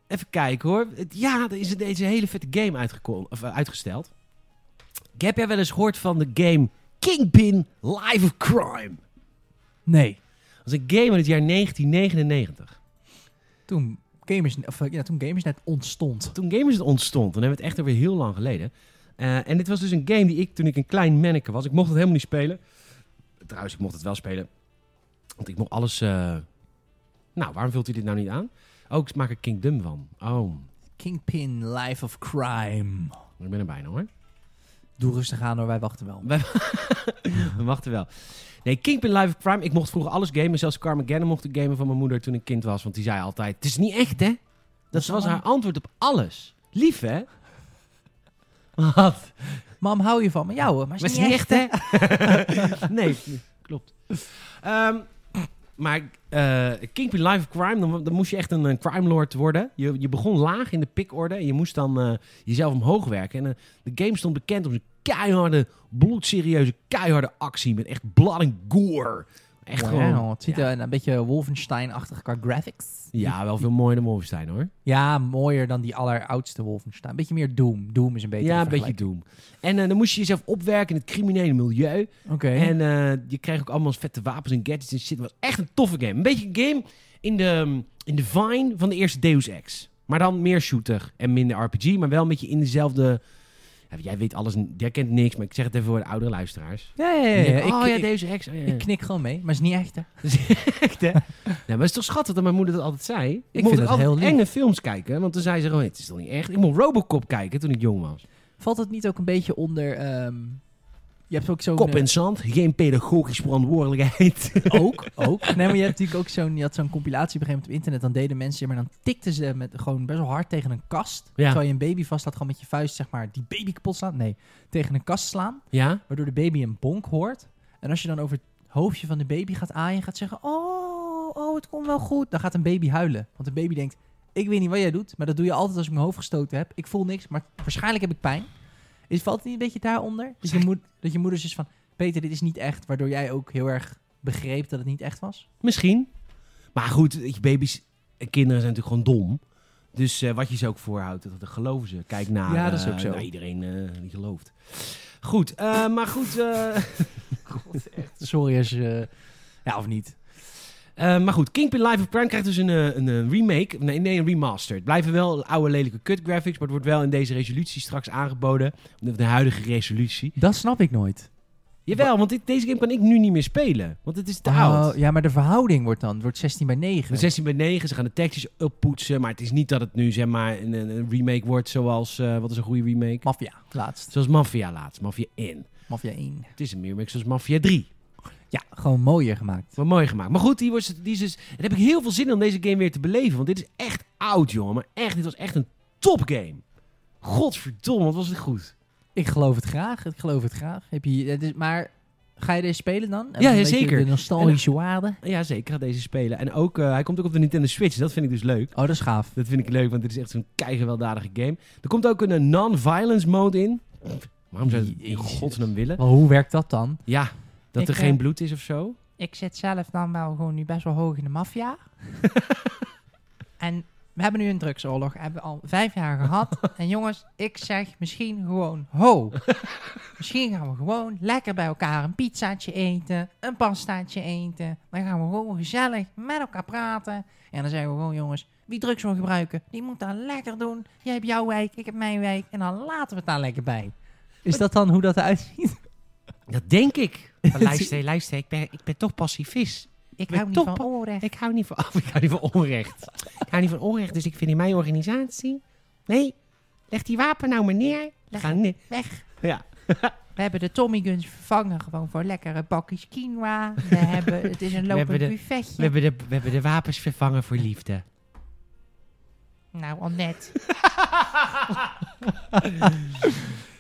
A: even kijken hoor. Het- Ja, er is deze hele vette game uitgeko- of, eh, uitgesteld. Ik heb jij wel eens gehoord van de game Kingpin Life of Crime?
B: Nee.
A: Dat is een game uit het jaar 1999.
B: Toen Gamers, of, eh, ja, toen Gamersnet ontstond.
A: Toen Gamers het ontstond, dan hebben we het echt alweer heel lang geleden. Eh, en dit was dus een game die ik, toen ik een klein manneke was, ik mocht het helemaal niet spelen. Trouwens, ik mocht het wel spelen. Want ik mocht alles... eh, Nou, waarom vult u dit nou niet aan? Oh, ik maak er Kingdom van. Oh,
B: Kingpin, Life of Crime.
A: ik ben er bijna hoor. [laughs]
B: Doe rustig aan hoor, wij wachten wel.
A: We wachten wel. Nee, Kingpin Life of Crime. Ik mocht vroeger alles gamen. Zelfs Carmageddon mocht ik gamen van mijn moeder toen ik kind was. Want die zei altijd, het is niet echt hè. Dat was haar antwoord op alles. Lief hè? [laughs] Wat?
B: Mam, hou je van me? Ja hoor, maar is
A: Maar
B: niet echt.
A: hè? nee, klopt. Ehm, maar eh Kingpin Life of Crime, dan, dan moest je echt een, eh, crime lord worden. Je, je begon laag in de pikorde en je moest dan eh, jezelf omhoog werken. En eh, de game stond bekend om zijn keiharde, bloedserieuze, keiharde actie met echt blood en gore. Echt
B: Wow,
A: gewoon...
B: Het ziet
A: ja,
B: er een, een beetje Wolfenstein-achtig qua graphics.
A: ja, wel veel mooier dan Wolfenstein hoor.
B: Ja, mooier dan die alleroudste Wolfenstein. Beetje meer Doom. Doom is een beetje
A: ja,
B: te
A: een beetje
B: vergelijken.
A: Doom. En eh, dan moest je jezelf opwerken in het criminele milieu.
B: Oké.
A: En eh, je kreeg ook allemaal vette wapens en gadgets en shit. Het was echt een toffe game. Een beetje een game in de, in de vine van de eerste Deus Ex. Maar dan meer shooter en minder RPG. Maar wel een beetje in dezelfde... Ja, jij weet alles, n- jij kent niks. Maar ik zeg het even voor de oudere luisteraars.
B: Ja, ja, ja.
A: Die
B: ja.
A: denken, oh
B: Ik-
A: ja,
B: ik-
A: Deus Ex. Oh, ja, ja.
B: ik knik gewoon mee, maar is niet echt hè.
A: Dat is echt, hè? nee, maar het is toch schattig dat mijn moeder dat altijd zei? Ik,
B: vind
A: mocht
B: dat
A: ook altijd
B: heel lief.
A: enge films kijken. Want toen zei ze gewoon, het is toch niet echt? Ik mocht Robocop kijken toen ik jong was.
B: Valt het niet ook een beetje onder... ehm, je hebt ook zo'n...
A: Kop
B: eh,
A: in zand, geen pedagogische verantwoordelijkheid.
B: ook, ook. Nee, maar je hebt natuurlijk ook zo'n, je had zo'n compilatie op een gegeven moment op internet. Dan deden mensen, maar dan tikten ze met gewoon best wel hard tegen een kast. Terwijl je een baby vast had, gewoon met je vuist, zeg maar, die baby kapot slaan. Nee, tegen een kast slaan,
A: ja?
B: waardoor de baby een bonk hoort. En als je dan over het hoofdje van de baby gaat aaien en gaat zeggen, oh, oh, het komt wel goed. Dan gaat een baby huilen. Want een baby denkt, ik weet niet wat jij doet, maar dat doe je altijd als ik mijn hoofd gestoten heb. Ik voel niks, maar waarschijnlijk heb ik pijn. Is, valt het niet een beetje daaronder? Dat je, moed, dat je moeder is van, Peter, dit is niet echt. Waardoor jij ook heel erg begreep dat het niet echt was.
A: Misschien. Maar goed, weet je, baby's en kinderen zijn natuurlijk gewoon dom. Dus eh, wat je ze ook voorhoudt, dat, dat geloven ze. Kijk naar,
B: Ja, dat is
A: eh,
B: ook zo.
A: naar iedereen eh, die gelooft. Goed, eh, maar goed. eh,
B: Sorry als je... Ja, of niet.
A: Eh, maar goed, Kingpin Live of Crime krijgt dus een, eh, een, eh, remake. Nee, nee, een remaster. Het blijven wel oude lelijke cut graphics, maar het wordt wel in deze resolutie straks aangeboden. De, de huidige resolutie.
B: Dat snap ik nooit.
A: Jawel, want dit- deze game kan ik nu niet meer spelen, want het is te oud.
B: Oh, ja, maar de verhouding wordt dan wordt 16 bij 9.
A: Een 16 bij 9, ze gaan de tekstjes oppoetsen, maar het is niet dat het nu zeg maar een, een- een remake wordt zoals, eh, wat is een goede remake?
B: Mafia, laatst.
A: Zoals Mafia laatst, Mafia 1.
B: Mafia 1.
A: Het is een remake zoals Mafia 3.
B: Ja, gewoon mooier gemaakt.
A: Wat mooi gemaakt. Maar goed, die was, die is dus, daar heb ik heel veel zin in om deze game weer te beleven. Want dit is echt oud, jongen. Maar echt, dit was echt een topgame. Godverdomme, wat was dit goed.
B: Ik geloof het graag. Ik geloof het graag. Heb je, het is, maar ga je deze spelen dan?
A: Ja,
B: Een
A: ja,
B: beetje
A: zeker.
B: De nostalgische waarde.
A: Ja, zeker, ik ga deze spelen. En ook, eh, hij komt ook op de Nintendo Switch. Dat vind ik dus leuk.
B: Oh, dat is gaaf.
A: Dat vind ik leuk, want dit is echt zo'n keigewelddadige game. Er komt ook een eh, non-violence mode in. Waarom zou je dat in
B: Jezus.
A: godsnaam willen?
B: Maar hoe werkt dat dan?
A: Ja, dat
B: Ik,
A: er
B: eh,
A: geen bloed is of zo.
B: Ik zit zelf dan wel gewoon nu best wel hoog in de [laughs] maffia. en we hebben nu een drugsoorlog. Hebben we al vijf jaar [laughs] gehad. en jongens, ik zeg misschien gewoon [laughs] ho. misschien gaan we gewoon lekker bij elkaar een pizzaatje eten. Een pastaatje eten. Dan gaan we gewoon gezellig met elkaar praten. En dan zeggen we gewoon jongens, wie drugs wil gebruiken, die moet dat lekker doen. Jij hebt jouw wijk, ik heb mijn wijk. En dan laten we het daar lekker bij. Is dat dan hoe dat eruit ziet?
A: Dat denk [laughs] ik. Maar
B: luister,
A: luister, ik ben, ik ben toch pacifist.
B: Ik
A: Maar
B: hou niet
A: top,
B: van
A: pa-
B: oren.
A: Ik hou niet van, [laughs] ik hou niet van onrecht. ik hou niet van onrecht, dus ik vind in mijn organisatie... Nee, leg die wapen nou maar neer.
B: Leg
A: Ga ne-
B: Weg.
A: ja.
B: We hebben de Tommy Guns vervangen gewoon voor lekkere bakjes quinoa.
A: [laughs]
B: We hebben, het is een lopend
A: hebben de-
B: buffetje.
A: hebben de, we hebben de wapens vervangen voor liefde.
B: Nou, Annette.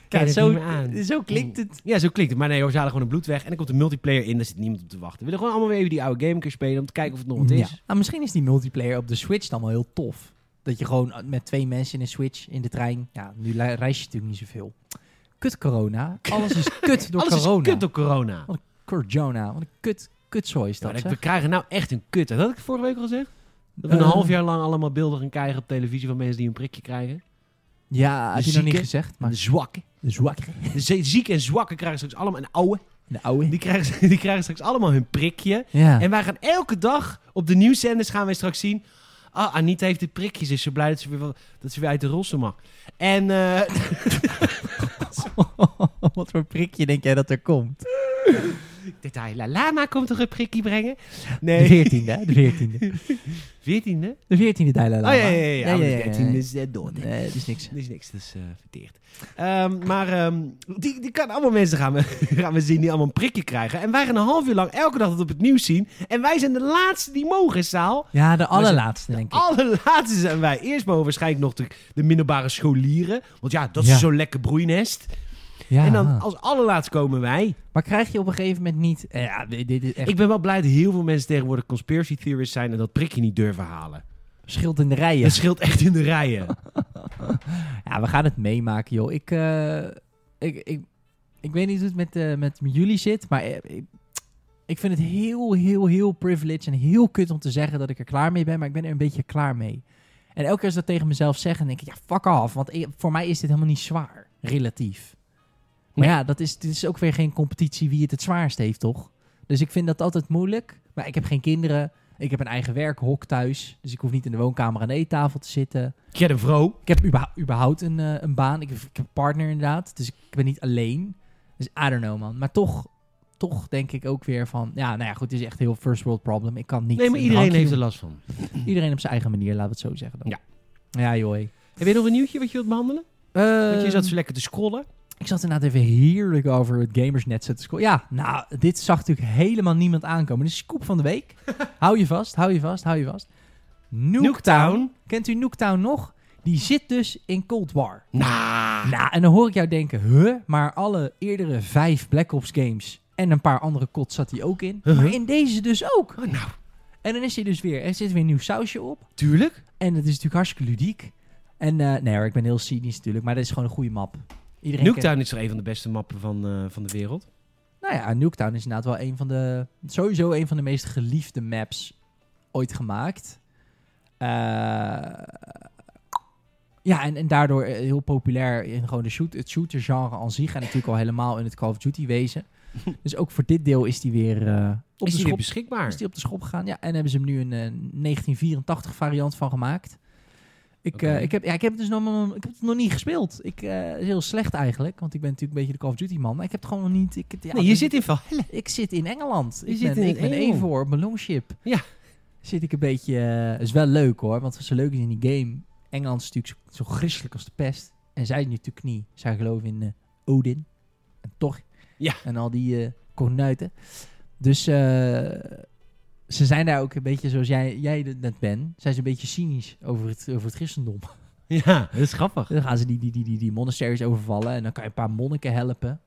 A: Kijk,
B: Ja,
A: dat
B: zo,
A: niet meer aan.
B: zo klinkt het.
A: Ja, zo klinkt het. Maar nee, hoor, ze halen gewoon een bloed weg. En dan komt de multiplayer in, daar zit niemand op te wachten. We willen gewoon allemaal weer even die oude game een keer spelen... om te kijken of het nog wat is.
B: Ja. Nou, misschien is die multiplayer op de Switch dan wel heel tof. Dat je gewoon eh, met twee mensen in een Switch in de trein... Ja, nu le- reis je natuurlijk niet zoveel. Kut corona. Alles is kut
A: [laughs]
B: door
A: Alles
B: corona.
A: is kut door corona.
B: corona. Wat een kut, kutzooi is
A: Ja,
B: dat,
A: dat-
B: zeg.
A: we krijgen nou echt een kut. Dat had ik vorige week al gezegd. Dat we een
B: Eh,
A: half jaar lang allemaal beelden gaan krijgen op televisie van mensen die een prikje krijgen.
B: Ja, had je nog
A: zieke-
B: niet gezegd,
A: Maar
B: maar...
A: de zwakken.
B: De zwakkere.
A: De ze- zieken en zwakken krijgen straks allemaal een oude.
B: De oude.
A: Die krijgen, [laughs] die krijgen straks allemaal hun prikje.
B: Ja.
A: En [laughs] wij gaan elke dag op de nieuwszenders gaan wij straks zien. Ah, Anita heeft de prikjes. Is zo blij dat ze weer, wel- dat ze weer uit de rossen mag. En eh,
B: [laughs] Wat voor prikje denk jij dat er komt?
A: dit hij, La Lama komt toch een prikje
B: [laughs]
A: brengen?
B: De
A: Nee,
B: 14e, hè? De
A: [laughs]
B: 14e.
A: 14e?
B: De 14e Dalai Lama.
A: Oh ja, ja, ja. ja,
B: Nee,
A: maar
B: ja, ja,
A: De 13e
B: ja.
A: is eh, door.
B: Nee, dat is niks.
A: Er is niks, dus eh verteerd. Ehm, maar ehm, die, die kan allemaal mensen gaan we, [laughs] gaan we zien die allemaal een prikje krijgen. En wij gaan een half uur lang elke dag dat op het nieuws zien. En wij zijn de laatste die mogen in zaal.
B: Ja, de allerlaatste, denk ik.
A: Allerlaatste zijn wij. Eerst mogen waarschijnlijk nog de, de middelbare scholieren. Want ja, dat is
B: Ja.
A: zo'n lekker broeinest.
B: Ja.
A: Ah, En dan als allerlaatst komen wij.
B: Maar krijg je op een gegeven moment niet... eh, Ja, dit, dit is echt
A: Ik ben wel blij dat heel veel mensen tegenwoordig conspiracy theorists zijn... en dat prikje niet durven halen.
B: schild in de rijen.
A: Dat scheelt echt in de rijen.
B: Ja, we gaan het meemaken, joh. Ik, eh, ik, ik, ik weet niet hoe het met, eh, met jullie zit, maar eh, ik, ik vind het heel, heel, heel privileged en heel kut om te zeggen dat ik er klaar mee ben, maar ik ben er een beetje klaar mee. En elke keer als ik dat tegen mezelf zeg, dan denk ik, ja, fuck off, want eh, voor mij is dit helemaal niet zwaar, relatief. Maar
A: Nee.
B: ja, dat is, dit is ook weer geen competitie wie het het zwaarst heeft, toch? Dus ik vind dat altijd moeilijk, maar ik heb geen kinderen, ik heb een eigen werkhok thuis, dus ik hoef niet in de woonkamer aan de eettafel te zitten.
A: Get a vrouw.
B: [laughs] Ik heb überha- überhaupt een, eh, een baan. Ik heb, ik heb een partner inderdaad. Dus ik ben niet alleen. Dus I don't know, man. Maar toch, toch denk ik ook weer van... Ja, nou ja, goed. Het is echt een heel first world problem. Ik kan niet...
A: Nee, maar
B: een
A: iedereen
B: drankje
A: heeft er
B: doen.
A: last van.
B: Iedereen op zijn eigen manier, laten we het zo zeggen dan.
A: Ja.
B: Ja, joh. hey.
A: Heb je nog een nieuwtje wat je wilt behandelen? Want je
B: Ehm,
A: zat zo lekker te scrollen.
B: Ik zat inderdaad even heerlijk over het gamersnet te scrollen. Ja, nou, dit zag natuurlijk helemaal niemand aankomen. De scoop van de
A: [laughs]
B: week. hou je vast, hou je vast, hou je vast. Nuketown. Kent u Nuketown nog? Die zit dus in Cold War.
A: Nou.
B: Nou, en dan hoor ik jou denken, huh? Maar alle eerdere vijf Black Ops games en een paar andere kots zat hij ook in.
A: Uh-huh.
B: Maar in deze dus ook.
A: Oh, nou,
B: En dan is hij dus weer, er zit weer een nieuw sausje op.
A: tuurlijk.
B: En het is natuurlijk hartstikke ludiek. En eh, nee hoor, ik ben heel cynisch natuurlijk, maar dat is gewoon een goede map. Iedereen kent-
A: Nuketown is toch een van de beste mappen van, eh, van de wereld?
B: Nou ja, Nuketown is inderdaad wel een van de. Sowieso een van de meest geliefde maps ooit gemaakt. Eh, ja, en, en
A: [laughs]
B: daardoor eh, heel populair in gewoon de shoot, het shooter-genre aan zich. En natuurlijk al helemaal in het Call of Duty wezen. dus ook voor dit deel is die weer eh, op
A: Is die
B: de
A: weer
B: schop.
A: beschikbaar?
B: Is die op de schop gegaan? Ja, en hebben ze hem nu een eh, 1984 variant van gemaakt. Ik,
A: Oké.
B: eh, ik, heb, ja, ik heb het dus nog, nog- ik heb het nog niet gespeeld. Ik eh, is heel slecht eigenlijk, want ik ben natuurlijk een beetje de Call of Duty man. Maar ik heb het gewoon nog niet. Ik, ja,
A: Nee, je
B: ik-
A: zit in van.
B: ik zit in Engeland.
A: Je
B: ik
A: zit
B: ben,
A: in
B: ik ben
A: Engeland.
B: even voor op mijn longship.
A: Ja.
B: Zit ik een beetje... eh, is wel leuk hoor, want wat zo leuk is in die game... Engeland is natuurlijk zo, zo christelijk als de pest. En zij zijn natuurlijk niet. Zij geloven in eh, Odin. En Thor.
A: Ja.
B: En al die eh konuiten. Dus eh, ze zijn daar ook een beetje zoals jij, jij het net bent. Zijn ze een beetje cynisch over het, over het christendom.
A: [laughs] Ja, dat is grappig.
B: Dan gaan ze die, die, die, die, die monasteries overvallen. En dan kan je een paar monniken helpen.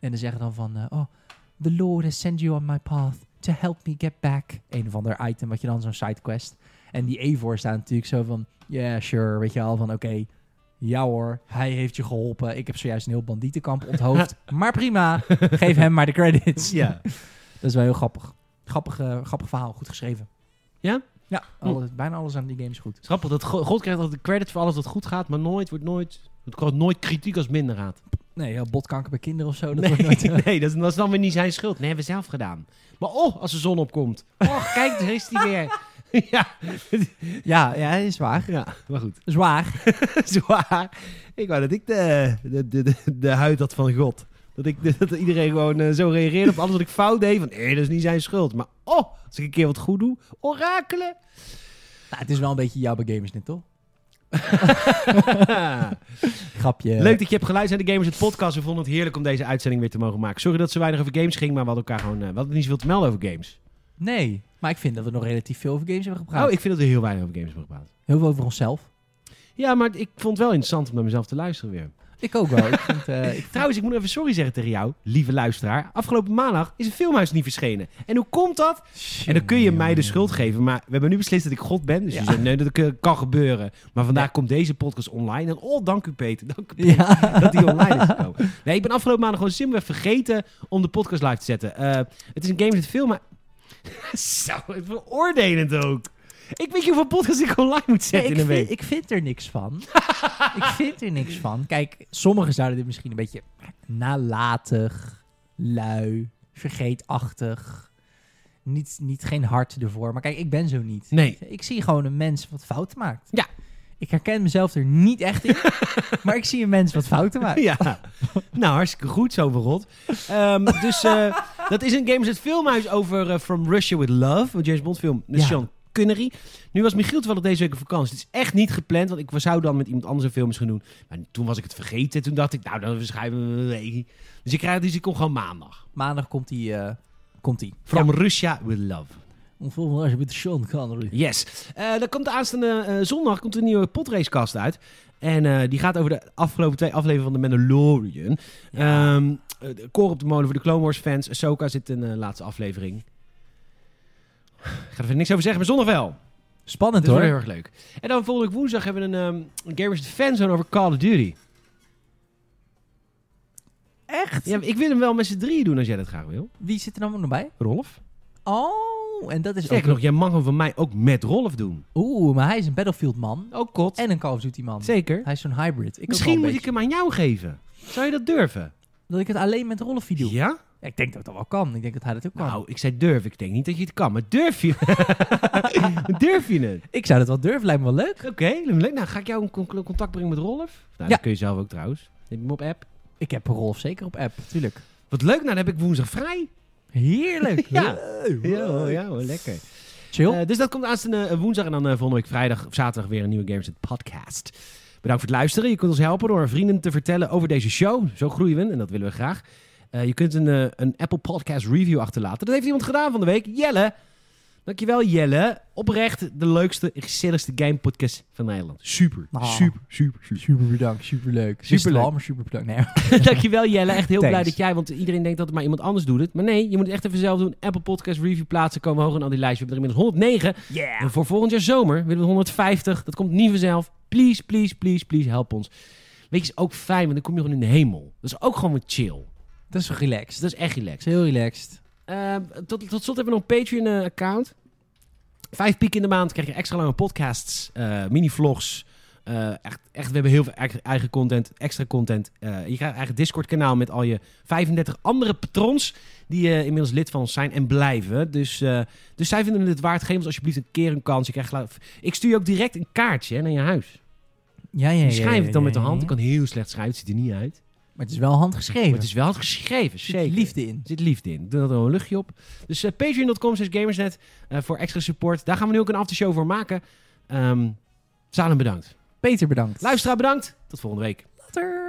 B: En dan zeggen dan van... eh, oh, the Lord has sent you on my path to help me get back. Een of ander item wat je dan zo'n sidequest. En die Eivor staat natuurlijk zo van... Yeah, sure. Weet je al van oké... ja hoor, hij heeft je geholpen. Ik heb zojuist een heel bandietenkamp [laughs] onthoofd. maar prima, geef hem maar de credits.
A: [laughs] Ja.
B: Dat is wel heel grappig. Grappig, eh, grappig verhaal, goed geschreven.
A: Ja?
B: Ja, alles- bijna alles aan die game is goed.
A: Grappig dat Go- God krijgt altijd de credit voor alles wat goed gaat, maar nooit wordt nooit. Het krijgt nooit kritiek als [laughs] minderheid.
B: Nee, ja, botkanker bij kinderen of zo. Dat wordt
A: Nee,
B: nooit, eh,
A: nee dat, is, dat is dan weer niet zijn schuld. Nee, hebben we zelf gedaan. Maar oh, als de zon opkomt. Oh, kijk, daar is die weer. [laughs] ja,
B: [laughs] Ja, ja, is waar.
A: ja, maar goed.
B: Zwaar.
A: [laughs] Zwaar. Ik wou dat ik de, de, de, de, de huid had van God. Dat, ik, [laughs] dat iedereen gewoon eh, zo reageerde op alles wat ik fout deed. Van, nee, dat is niet zijn schuld. Maar oh, als ik een keer wat goed doe, [laughs] orakelen.
B: Nou, het is wel een beetje jouw bij gamers net, toch? Grapje.
A: Leuk dat je hebt geluisterd naar de Gamers het podcast. We vonden het heerlijk om deze uitzending weer te mogen maken. Sorry dat ze weinig over games ging, maar we hadden elkaar gewoon eh, we hadden niet zoveel te melden over games.
B: Nee, maar ik vind dat we nog relatief veel over games hebben gepraat.
A: Oh, ik vind dat we heel weinig over games hebben gepraat.
B: Heel veel over onszelf.
A: Ja, maar ik vond het wel interessant om naar mezelf te luisteren weer.
B: Ik ook wel.
A: [laughs]
B: ik vind, eh, ik-
A: Trouwens, ik moet even sorry zeggen tegen jou, lieve luisteraar. Afgelopen maandag is een filmhuis niet verschenen. En hoe komt dat? En dan kun je mij dus- de schuld geven, maar we hebben nu beslist dat ik God ben. Dus je
B: Ja.
A: zegt, nee, dat eh, kan gebeuren. Maar vandaag komt deze podcast online. En oh, dank u Peter, dank u Peter.
B: Ja.
A: [laughs] dat die online is gekomen. [laughs] Nee, ik ben afgelopen maandag gewoon simpelweg vergeten om de podcast live te zetten. Eh, het is een game met veel, maar... [laughs] Zo, het veroordelend ook. Ik weet niet hoeveel podcasts ik online moet
B: Nee,
A: zetten
B: ik,
A: in een
B: vind,
A: week.
B: ik vind er niks van.
A: [laughs]
B: ik vind er niks van. Kijk, sommigen zouden dit misschien een beetje nalatig, lui, vergeetachtig. Niet, niet, geen hart ervoor. Maar kijk, ik ben zo niet.
A: Nee.
B: Ik zie gewoon een mens wat fouten maakt.
A: Ja.
B: Ik herken mezelf er niet
A: [laughs]
B: echt in. maar ik zie een mens wat fouten maakt.
A: Ja. Nou, hartstikke goed zo, verrot. Ehm, dus eh, dat is een game met filmhuis over eh, From Russia With Love. Een James Bond film met
B: Ja.
A: Sean Connery. Nu was Michiel toevallig deze week op vakantie. Het is echt niet gepland, want ik zou dan met iemand anders een film eens gaan doen. Maar toen was ik het vergeten. Toen dacht ik, nou, dan schrijven we... nee. Dus ik, krijg, dus ik kom gewoon maandag.
B: Maandag komt die. eh, komt die.
A: From Russia With Love.
B: Volgende als je met Sean Connery.
A: Yes. Eh, dan komt de aanstaande eh, zondag komt een nieuwe potracecast uit. En eh, die gaat over de afgelopen twee afleveringen van The Mandalorian.
B: Ja.
A: Ehm, eh, de koor op de molen voor de Clone Wars fans. Ahsoka zit in de laatste aflevering. Ik ga er verder niks over zeggen, maar zondag wel.
B: Spannend
A: Dat is wel heel
B: hoor.
A: erg leuk. En dan volgende week woensdag hebben we een ehm, een Gamers Fanzone over Call of Duty.
B: Echt?
A: Ja, ik wil hem wel met z'n drieën doen als jij dat graag wil.
B: Wie zit er dan ook nog bij?
A: Rolf?
B: Oh, en dat is ook.
A: Sterker nog, jij mag hem van mij ook met Rolf doen.
B: Oeh, maar hij is een Battlefield man.
A: Ook kot.
B: En een Call of Duty man.
A: Zeker.
B: Hij is zo'n hybrid. Ik
A: Misschien moet ik
B: ik...
A: hem aan jou geven. Zou je dat durven?
B: Dat ik het alleen met Rolfie doe.
A: Ja?
B: Ja, Ik denk dat dat wel kan. Ik denk dat hij dat ook kan.
A: Nou, ik zei durf. Ik denk niet dat je het kan, maar durf je [laughs] het? durf je het?
B: Ik zou dat wel durven. Lijkt me wel leuk.
A: Oké, leuk. Nou, ga ik jou in con- contact brengen met Rolf? Nou,
B: Ja.
A: dat kun je zelf ook trouwens. Neem hem op app.
B: Ik heb Rolf zeker op app. Tuurlijk.
A: Wat leuk, nou dan heb ik woensdag vrij.
B: Heerlijk.
A: [laughs] Ja.
B: Leuk.
A: hoor, lekker.
B: Chill.
A: Eh, dus dat komt aanstaande eh, woensdag en dan eh, volgende week vrijdag of zaterdag weer een nieuwe Games Net podcast. Bedankt voor het luisteren. Je kunt ons helpen door aan vrienden te vertellen over deze show. Zo groeien we en dat willen we graag. Eh, je kunt een, eh, een Apple Podcast review achterlaten. Dat heeft iemand gedaan van de week. Jelle. Dankjewel Jelle. Oprecht de leukste en gezelligste game podcast van Nederland. Super,
B: Ah.
A: super, super, super.
B: Super bedankt. Super leuk.
A: Superleuk.
B: maar super bedankt.
A: [laughs]
B: Nee.
A: Dankjewel Jelle. Echt heel
B: Thanks.
A: blij dat jij, want iedereen denkt dat het maar iemand anders doet het. Maar nee, je moet het echt even zelf doen. Apple Podcast review plaatsen komen hoog in al die lijstjes. We hebben er inmiddels 109.
B: Yeah.
A: En voor volgend jaar zomer willen we 150. Dat komt niet vanzelf. Please, please, please, please, help ons. Weet je, is ook fijn, want dan kom je gewoon in de hemel. Dat is ook gewoon weer chill.
B: Dat is
A: Dus
B: relaxed.
A: dat is echt
B: Dat is
A: relaxed.
B: heel relaxed.
A: Eh, tot, tot slot hebben we nog een Patreon-account. Vijf piek in de maand krijg je extra lange podcasts, eh mini-vlogs, eh, Eh, echt, echt, we hebben heel veel eigen- eigen content, extra content. Eh, je krijgt een eigen Discord-kanaal met al je 35 andere patrons... die eh, inmiddels lid van ons zijn en blijven. Dus, eh, dus zij vinden het waard. Geef ons alsjeblieft een keer een kans. Je krijgt, gelijk- ik stuur je ook direct een kaartje hè, naar je huis.
B: Ja, ja, ja.
A: Schrijf
B: ja,
A: het dan
B: ja,
A: met de
B: ja,
A: hand.
B: ja.
A: Ik kan heel slecht schrijven. Het ziet er niet uit.
B: Maar het is wel handgeschreven.
A: Maar het is wel geschreven,
B: Er zit
A: zeker.
B: liefde in.
A: Er zit liefde in. Doe dat er wel een luchtje op. Dus eh, patreon.com slash gamersnet eh, voor extra support. Daar gaan we nu ook een aftershow voor maken. Ehm Salem bedankt.
B: Peter, bedankt.
A: Luisteraar bedankt. Tot volgende week.
B: Later.